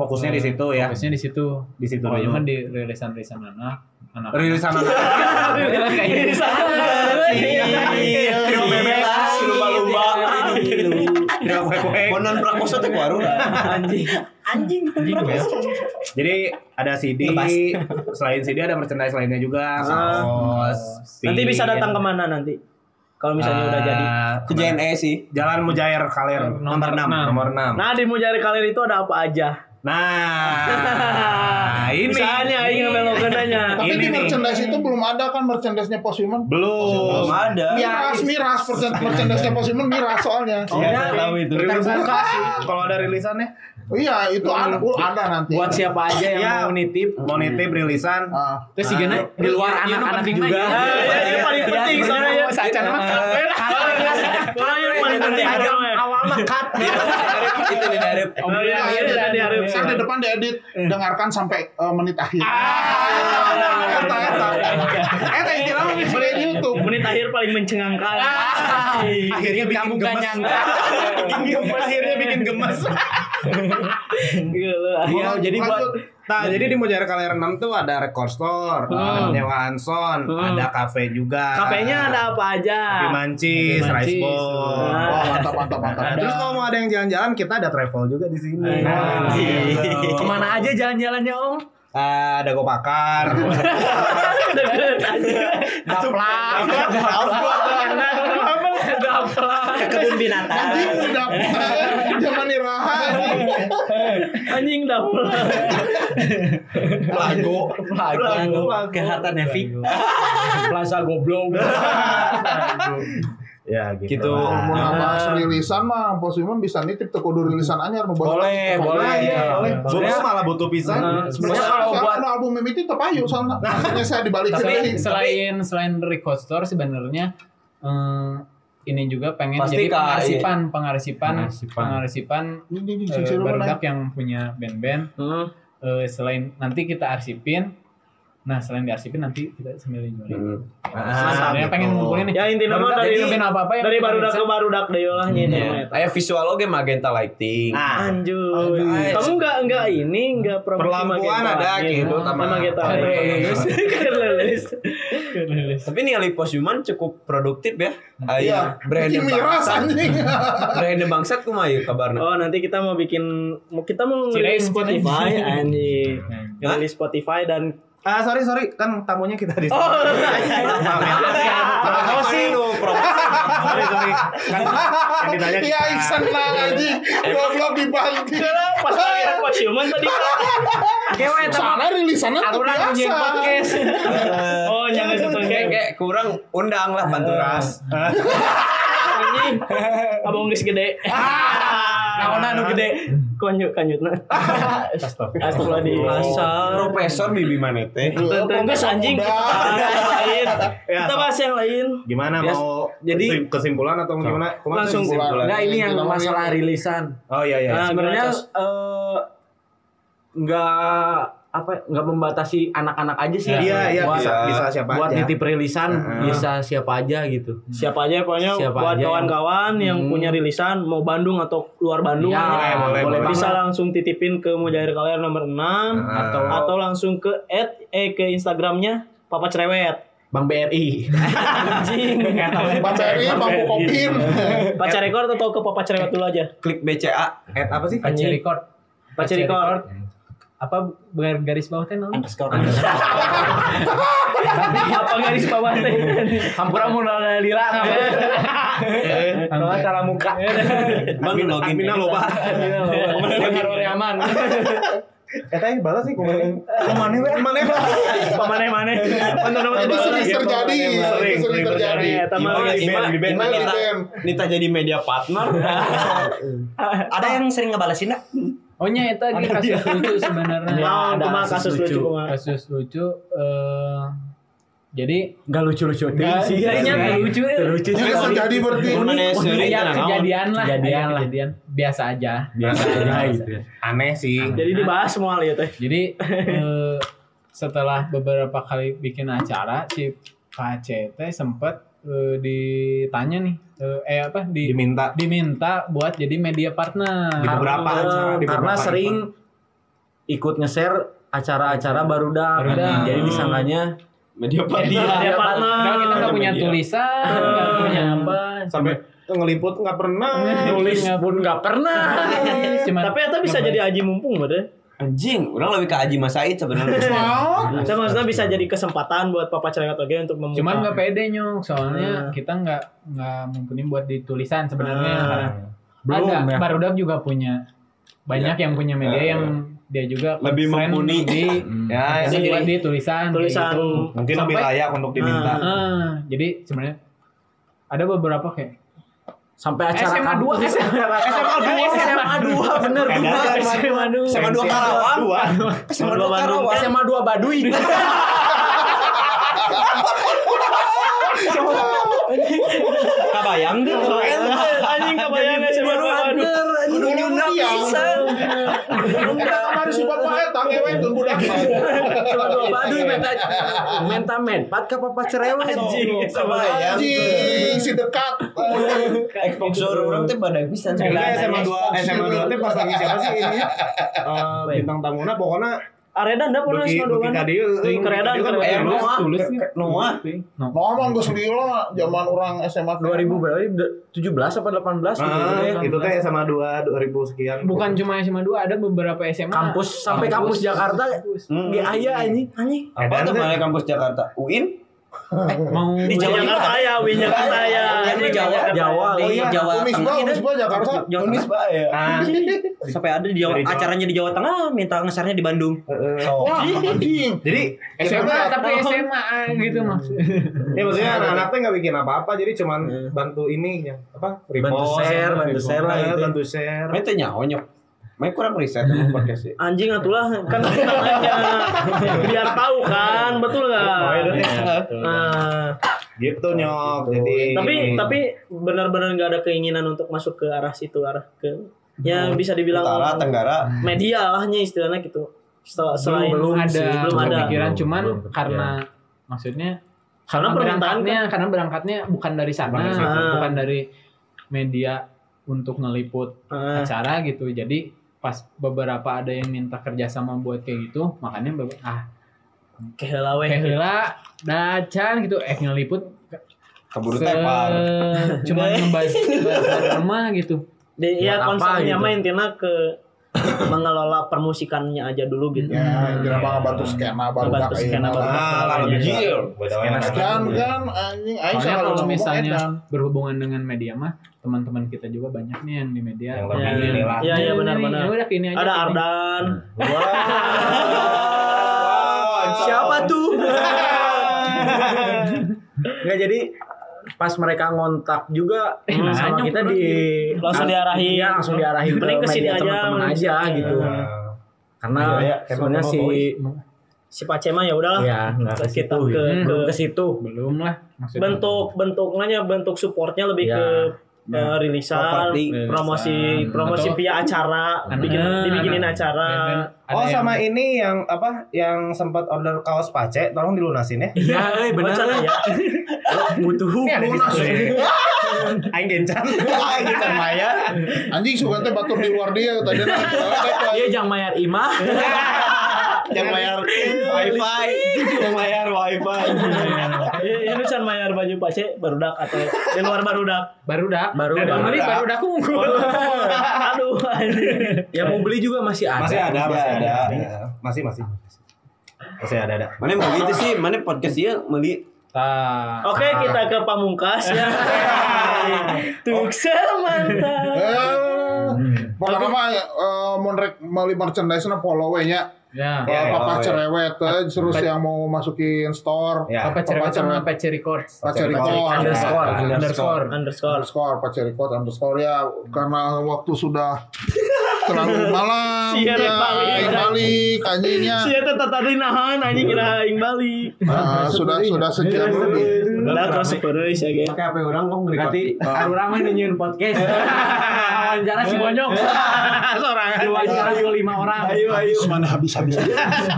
E: Fokusnya di situ ya.
F: Fokusnya di situ.
E: Di situ
F: Pokoknya
E: dulu.
F: mah di rilisan-rilisan anak. gitu. anak
E: Rilisan apa?
B: Ini Iya.
F: Iya.
D: Trio bebek lah, si lumba-lumba.
B: Iya.
E: Trio kuek-kuek.
D: iya, Bonan prakoso teh baru
B: Anjing.
H: Anjing.
E: Jadi ada CD,
D: Lepas.
E: selain CD ada merchandise lainnya juga, kaos.
B: Nanti bisa datang kemana nanti? Kalau misalnya udah jadi.
D: Ke JNE sih.
E: Ah, Jalan Mujair Kaler
F: Nomor
E: enam.
F: enam.
E: Nomor 6.
B: Nah, di Mujari Kalir itu ada apa aja?
E: Nah, ini
B: Misalnya aing ngebelokeun nanya.
C: Tapi di
E: Ini nih.
C: merchandise itu belum ada kan merchandise-nya Posiman?
E: belum.
B: Oh,
D: Belum ada.
B: Iya.
C: Miras, miras, persen- merchandise-nya Posiman miras soalnya.
B: Oh, Iya,
D: tahu itu.
E: Rilisan kalau ada rilisannya
C: Iya, itu ada, oh, ada nanti.
B: Buat siapa aja yang
E: Ya.
B: mau nitip?
E: mau nitip rilisan.
C: Ah.
F: Terus si Gena
G: di luar anak-anak juga
B: Ah, iya, iya, paling penting soalnya
F: iya.
B: ya.
G: sacan mah
B: Soalnya yang paling penting ya. ada
G: awal mah cut
D: Itu nih dari
B: Iya, iya, iya, iya, iya.
C: Ntar di depan diedit, dengarkan sampai eh, menit akhir.
E: Ah.
C: Eta, eta. Eta, kira mah bisa ya. di YouTube.
B: menit akhir paling mencengangkan. Ah.
E: Akhirnya bikin
G: kamu gak
E: gemes.
G: nyangka
E: Bikin gemes. Akhirnya bikin gemes.
B: Gila.
E: Iya, jadi buat
C: Lanjut.
E: Nah, jadi di Mojar Kaler 6 tuh ada record store, ada penyewaan sound, ada kafe juga.
B: Kafenya ada apa aja?
E: Kopi mancis,
F: Kopi
E: rice
F: mancis.
E: bowl.
B: Ah.
C: Wah, mantap, mantap, mantap.
E: Nah, terus kalau mau ada yang jalan-jalan, kita ada travel juga di sini.
B: Ah,
G: kemana aja jalan-jalannya om
E: Ah, ada gopakar.
B: Iya.
G: daplak
H: Ke kebun binatang.
C: Anjing udah zaman iraha anjing.
B: Anjing dapur.
D: lagu.
B: Iya, gitu
H: Lagu ke harta
F: iya.
H: nevi.
G: plaza goblok
E: ya gitu.
D: Gitu.
E: lah.
C: Mau nambah rilisan mah Posiman bisa nitip teu kudu rilisan anyar nu baru.
G: boleh boleh
E: Iya, boleh. Sebenarnya
G: Sebenarnya-
E: malah butuh pisan.
G: Nah, sebenarnya
C: Soalnya-
G: kalau
C: soalnya
G: buat
C: nu album Mimiti teu payu soalnya. Maksudnya saya dibalik
F: tapi
C: sendiri.
F: selain selain record store sebenarnya eh, ini juga pengen
D: Pasti
F: jadi
D: Kak,
F: pengarsipan, pengarsipan,
G: Pengarsipan.
F: pengarsipan,
C: Ini ini
F: eh, barudak yang punya band-band. Eh, selain nanti kita arsipin, nah selain diarsipin nanti kita sendiri nyuri.
D: Hmm.
F: Ah,
E: Ah,
F: Sebenarnya pengen ngumpulin nih.
B: Ya intinya mah
F: Barudak
B: dari
F: jadi band apa-apa yang
B: dari
F: kita
B: barudak
F: bisa.
B: ke barudak deh
D: Iya.
B: olahnya ini mah eta.
D: Aya visual oge magenta lighting.
E: Nah.
B: Nah, Anjur.
D: Aduh. iya.
B: Kamu enggak enggak ini enggak promosi
D: Perlampuan
B: Magenta
D: ada
B: lagi.
D: gitu Iya.
B: Sama Kan
D: sama
B: Magenta.
D: Terus.
B: Kerelis.
D: Tapi nih Ali Poshuman cukup produktif ya. Aya brand
C: Ini miras anjing.
D: brand bangsat kumaha ieu kabarna?
B: Oh nanti kita mau bikin mau- kita mau
F: Cirain
B: ngerilis Spotify
F: anjing.
B: anjing.
F: Nah,
B: Ngerilis Spotify dan
E: Ah sorry sorry kan tamunya kita
B: Oh.
E: di sini.
D: Oh, Promosi nu iya, promosi.
E: sorry sorry kan yang ditanya
C: Iya, senang anjing. Goblok dibanting.
B: pas lagi apa siuman tadi Kak?
C: Sana rilisannya tuh biasa.
B: Oh jangan satu
D: Iya, Kayak
B: geng
D: kayak kurang undang lah Panturas.
E: Ah.
B: anjing. Abang geus gede. Naon anu gede? Konjuk kanjutna. Astagfirullah di pasar.
D: Profesor Bibi Manete.
B: Tentu anjing kita bahas yang lain.
E: Ya,
B: Kita bahas yang lain.
E: Gimana
D: Ya,
E: mau
H: jadi-
E: kesim- kesimpulan atau gimana? Kumaha
B: Langsung.
E: kesimpulan?
H: Nah ini yang
C: Kita ngomongin.
H: masalah rilisan.
E: Oh iya iya.
B: Nah,
H: sebenarnya
B: gimana, Cos?
H: eh, nggak apa ya, nggak membatasi anak-anak aja sih
E: Iya iya
H: buat,
E: bisa
D: Buat-
E: bisa siapa
H: buat
E: aja.
H: nitip rilisan
E: Heeh.
H: bisa siapa aja gitu
B: Siapa aja pokoknya
H: Siapa aja
B: buat
H: yang-
B: kawan-kawan yang
H: Hmm.
B: punya rilisan mau Bandung atau luar Bandung
H: Ya,
B: aja.
E: boleh, boleh
B: bisa langsung titipin ke Mujair Kaler nomor 6
E: Nah,
D: atau-
B: atau langsung ke at, eh ke Instagramnya Papa Cerewet.
H: Bang BRI
B: Anjing.
C: Pacari, bangku
E: iya.
C: kopin.
B: Pacar rekor atau ke Papa Cerewet dulu aja.
D: klik BCA at apa sih?
F: Pace record.
B: Pace record.
F: Apa ber- garis bawah kan, teh namanya?
B: Apa garis bawah teh?
H: hampura mau lila
F: Angkat.
H: cara muka
B: Iya,
D: Bang login.
E: Adminnya loba.
B: iya,
H: nyaman
E: Katanya balas sih kemarin. Kemana ya? Kemana ya?
B: Pemane-mane.
C: Itu sering terjadi. Itu sering terjadi.
B: Eta mah
D: Gimana,
B: garis-
D: gimana?
C: Gimana
D: Gimana?
C: di BM?
D: Nita jadi media partner.
H: ada yang sering ngebalesin nggak?
F: Oh nya eta ge kasus lucu sebenarnya.
B: Nah, itu mah kasus lucu kumaha.
F: Kasus lucu eh jadi
H: nggak lucu-lucu
F: Nggak-
B: Iya,
H: Jadinya
F: nggak Iya, lucu.
H: lucu
C: Ini terjadi berarti.
D: Mana seri?
H: Iya,
F: ya kejadian lah
H: Kejadian
F: ya,
H: lah.
F: kejadian biasa aja
E: Aneh sih.
B: Jadi dibahas semua ya teh.
F: jadi eh, setelah beberapa kali bikin acara si Pak CT sempet eh, ditanya nih eh, eh apa di,
E: Diminta
F: diminta buat jadi media partner
E: Di beberapa acara, di
H: karena
E: beberapa
H: sering ikut nge-share acara-acara baru
F: Barudak.
H: jadi disangkanya
D: Hmm. Media partner.
B: Media
F: Padahal kita nggak punya
D: Media.
F: tulisan nggak punya apa
E: sampai ngeliput nggak pernah.
C: Iya,
F: nulis pun nggak pernah Cuman
B: Tapi Eta bisa
F: ngebayang.
B: jadi aji mumpung bener.
D: Anjing, orang lebih ke Haji Mas Said sebenarnya.
C: Mau?
B: Saya maksudnya bisa jadi kesempatan buat Papa Cerewet oke untuk membuka.
F: cuman nggak pede nyong soalnya
B: Hmm.
F: kita nggak nggak mumpuni buat di tulisan sebenarnya
B: Hmm.
F: karena ada Barudak juga punya banyak yang punya media yang dia juga
D: Lebih
F: concern
D: mumpuni.
F: di
E: Hmm. Iya,
D: ya,
F: di,
B: sendiri.
F: di tulisan kayak
B: tulisan
F: gitu.
E: Mungkin lebih
F: Sampai-
E: layak
D: Hmm.
E: untuk diminta.
F: Ah, jadi sebenarnya ada beberapa kayak
H: sampai acara
F: SMA 2 SMA
H: SMA 2 SMA 2 bener
E: Kadang-
B: SMA dulu.
D: Sama dua Iya, Karawang.
E: Dua.
D: Sama dua Karawang.
H: SMA 2 Baduy
D: Kabayang tuh.
B: Anjing kebayang SMA dua. Aduh.
C: Kudu ya nyunda pisan. Eta kamari sumpah Pak Eta ngewe tun budak.
H: SMA 2 Baduy menta menta menpat ke papa cerewet
B: Anjing.
D: Kabayang.
C: Anjing si dekat.
D: Exposure orang tuh badan pisan.
E: Itu
D: sebenarnya.
E: SMA 2 SMA 2 teh pas lagi siapa sih ini? Eh, bintang tamuna pokoknya
B: Areda ndak pernah
E: Duki
B: SMA dua.
E: Duki Kadieu.
B: Duki keredan,
E: Duki Kadieu
H: Iya,
B: keredan.
E: kan kayak
D: Eh, Noah.
F: tulisnya.
D: Noah.
C: Ngomong geus lila zaman orang SMA
H: 2000 berapa 17 apa 18 gitu
E: Ah,
H: ya.
E: itu teh SMA 2 2000 sekian.
F: bukan cuma SMA 2 ada beberapa SMA
H: kampus sampai kampus Jakarta di Aya anjing anjing
D: Apa
E: Edan
D: tuh
E: Hmm. teh.
D: mana kampus Jakarta? UIN?
F: mau
B: Di Jakarta ya, Win
D: Iya,
B: Jakarta ya.
H: Kan di Jawa Jawa
D: Oh iya,
H: Jawa
C: Unisba,
H: Tengah
C: Unisba Jakarta.
D: Unisba ya.
E: Ah,
H: sampai ada di Jawa
E: Dari Jawa.
H: acaranya di Jawa Tengah minta ngesernya di Bandung
E: eh, eh.
C: Wah, anjing.
E: Jadi,
F: SMA
C: Jakarta.
F: tapi SMA gitu
E: ya
F: maksudnya
E: maksudnya anak-anak teh nggak bikin apa-apa, jadi cuman bantu ini ya, apa?
H: bantu
E: repost,
H: share
E: apa,
H: bantu share lah
E: eh,
H: gitu
E: bantu share.
D: Mana teh nyaho nyok. Mana kurang riset sama podcast sih.
B: Anjing atulah kan kita nanya biar tahu kan betul
E: Oh,
B: nggak?
E: iya,
B: Nah,
E: gitu nyok jadi
B: tapi
H: Hmm.
B: tapi benar-benar nggak ada keinginan untuk masuk ke arah situ arah ke ya
H: Hmm.
B: bisa dibilang
D: utara tenggara
B: media lahnya istilahnya gitu Setelah, selain
F: belum ada
B: belum ada
F: kepikiran
G: Belum,
F: cuman
G: belum,
F: karena maksudnya
B: karena permintaan
F: berangkatnya karena berangkatnya bukan dari sana
E: Bukan
F: gitu.
E: dari
B: sana.
F: bukan dari media untuk ngeliput
B: Ah,
F: acara gitu jadi pas beberapa ada yang minta kerjasama buat kayak gitu makanya be- ah
B: keheula we.
F: kayak dacan gitu eh ngeliput
D: keburu
F: ke
D: tepar
F: cuman ngebahas ngebahas drama gitu
B: Di-
H: Buat
B: ya
H: apa
B: konsepnya
H: gitu?
B: mah intinya ke mengelola permusikannya aja dulu gitu.
C: Ya, jelema ngabantu skena baru
B: Ngebantu skena baru.
C: Ah,
D: nah
H: Iya.
D: lalu jil
C: Kan kan anjing aing
F: Soalnya
C: salah
F: kalau
C: ngomong
F: misalnya-
C: edan.
F: berhubungan dengan media mah teman-teman kita juga banyak nih yang di media
H: Iya,
E: Yang
B: Ya,
E: lebih
F: Ini,
E: lah.
B: ya, ya
F: ini, ini,
B: benar-benar.
F: ya udah ini aja
B: Ada
F: ini.
B: Ardan.
H: Siapa tuh? Nggak jadi pas mereka ngontak juga
F: nah,
H: sama
F: nyok,
H: kita
F: bro.
H: di
B: Hmm. Langsung diarahin.
H: Iya, langsung diarahin ke
B: Mending ke sini
H: media
B: aja, Iya,
H: teman-teman aja
B: mending-
H: gitu. Karena
D: Iya, iya. Kayak
H: sebenarnya
D: mau
H: si
B: Si Pace mah ya udahlah.
H: ya nggak
B: Ke
H: ke
B: kita
H: situ.
B: ke,
H: gitu.
B: ke
H: Belum ke situ.
F: belum lah maksudnya
B: bentuk bentuknya bentuk supportnya lebih
H: Ya.
B: ke eh, rilisan,
D: Properti.
B: promosi,
F: Rilisan.
B: promosi
F: Atau-
B: via acara,
F: Anak-
B: bikin dibikinin
F: anak-
B: acara.
F: Dan kan ada
E: Oh
F: yang-
E: sama ini yang apa yang sempat order kaos pace tolong dilunasin ya.
H: Iya, eh benar.
B: Wacana ya.
H: Butuh
E: Iya,
H: lunas.
E: Aing gencan. Aing gencan maya.
C: Anjing suka teh batur di luar dia tadi nah.
H: Iya, jangan mayar imah.
D: yang bayar wifi yang bayar wifi
B: Iya, iya, ini can mayar baju Pace barudak atau di luar barudak.
F: baru dah
H: Baru
F: Eh,
H: dah.
F: baru dah baru dah aku unggul.
B: Aduh. anjing.
H: Ya mau beli juga masih ada.
E: Masih ada, masih
D: Masih
E: ada.
D: ada.
E: Iya, Masih masih. Masih ada ada.
D: mana mau gitu sih mana podcast dia meli
F: Tah.
B: Oke, kita ke pamungkas ya.
H: Oh.
B: Tuk semantap.
C: Eh, Pokoknya mah eh, mun rek meuli merchandise na follow we nya.
F: ya
E: Ya,
C: Papa
E: follow we.
C: cerewet eh, terus yang mau masukin store.
E: Ya.
F: apa cerewet sama apa records
C: Pacar underscore
H: Underscore.
F: underscore
B: Underscore.
C: underscore Pacar Record underscore ya karena waktu sudah terlalu malam
B: Si
C: ya,
B: Eric balik.
C: Eric balik ya. anjingnya
B: Si eta teh tadi nahan anjing kira aing Bali.
C: Ah, sudah sudah sejam lebih
B: Udah terus pereus ya ge.
D: pakai apa orang kok
H: Berarti orang mah nyanyiin podcast. Wawancara si Bonyok.
B: Sorangan.
H: Diwawancara yuk lima orang.
C: habis mana habis habis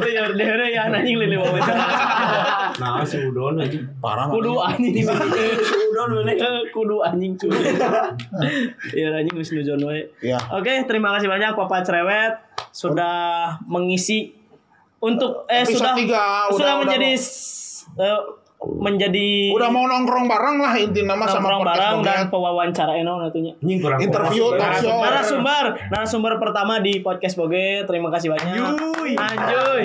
B: Liur dere ya anjing lili wawancara.
D: nah si udon aja parah
B: Kudu anjing. Kudon mana? Kudu anjing kudu. Ya anjing geus nujon we.
C: ya
D: Iya.
B: Oke, terima kasih banyak Papa Cerewet sudah mengisi untuk eh
C: Episode
B: sudah
C: tiga, Ah, udah-
B: sudah
C: udah
B: menjadi
C: mau-
B: s- eh, menjadi
C: udah mau nongkrong bareng lah inti nama sama
B: nongkrong
C: podcast
B: bareng dan
C: Bongket.
B: pewawancara eh, enon atunya.
E: Anjing kurang
C: interview talkshow
B: Nah, Narasumber, narasumber pertama di podcast Boge. Terima kasih banyak. Anjoy.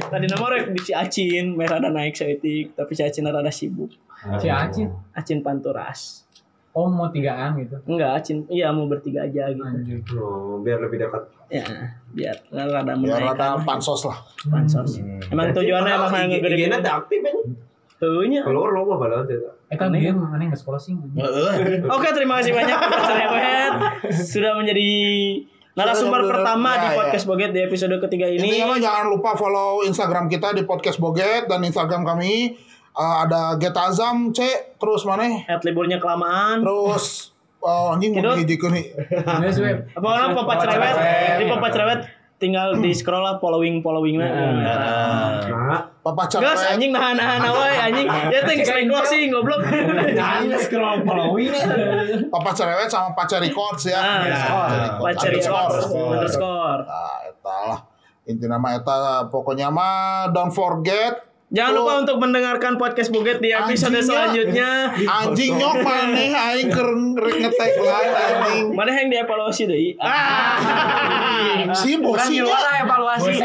B: Tadi nomor rek di si Acin, merah dan naik seetik, tapi si Acin rada sibuk.
F: si Acin
B: Acin Panturas.
F: oh mau tigaan gitu
B: Enggak, Acin. Iya, mau bertiga aja gitu.
F: Anjir.
D: biar lebih dekat
B: Ya, biar rada
C: biar
B: menaikkan
C: ada Ya, pansos lah
B: pansos. Emang tujuannya emang yang
D: gede
B: gede-gede.
D: aktif kan
B: Tuhnya.
D: keluar lo mah padahal dia.
F: Eh kan dia mana nggak sekolah sih?
B: Oke, terima kasih banyak Pak Cerewet sudah menjadi narasumber
C: Sudah, sudah,
B: pertama
C: sudah.
B: di
C: Ya, ya.
B: podcast Boget di episode ketiga ini.
C: Intinya mah jangan lupa follow Instagram kita di podcast Boget dan Instagram kami Eh, ada Getazam C terus mana
B: At liburnya kelamaan.
C: terus oh, anjing mau
B: Tidut.
C: ngijikeun nih
F: Nggak web.
B: Apa orang Papa Cerewet? Di Papa Cerewet tinggal di scroll lah following followingnya.
E: Nah,
C: Papa Cerewet
B: Gas anjing nahan nahan awal anjing. Ya teh geus naik closing goblok.
C: Papa Cerewet sama Pacar Records ya.
B: Ah, Pacar records
C: Underscore.
B: underscore.
C: Nah, eta lah. Inti nama eta pokoknya mah don't forget
B: Jangan
C: Oh.
B: lupa untuk mendengarkan podcast Boget di episode
C: Anjingnya.
B: selanjutnya.
C: anjing nyok maneh aing keur rek ngetek lain anjing.
B: Mana yang dievaluasi deui? Ah.
C: Si bosinya
H: evaluasi.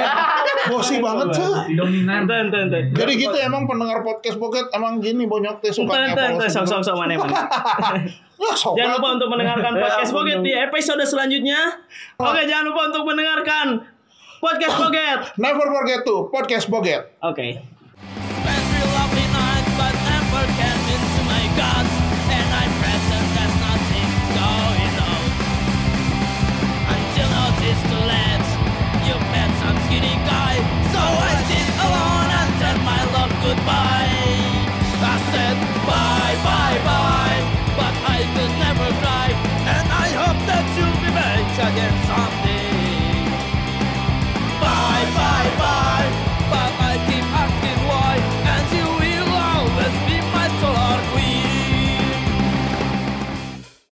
C: bosi banget
F: pues,
C: sih.
F: Dominan.
B: Enten enten enten.
C: Jadi gitu emang pendengar podcast Boget emang gini bonyok teh suka
B: Enten enten enten
C: ngepolos.
B: sok sok sok mana mana.
C: Ya sok.
B: Jangan lupa
C: banget.
B: untuk
C: Ya
B: mendengarkan podcast Boget di episode selanjutnya. Oke, jangan lupa untuk mendengarkan podcast Boget.
C: Never forget to podcast Boget.
B: Oke.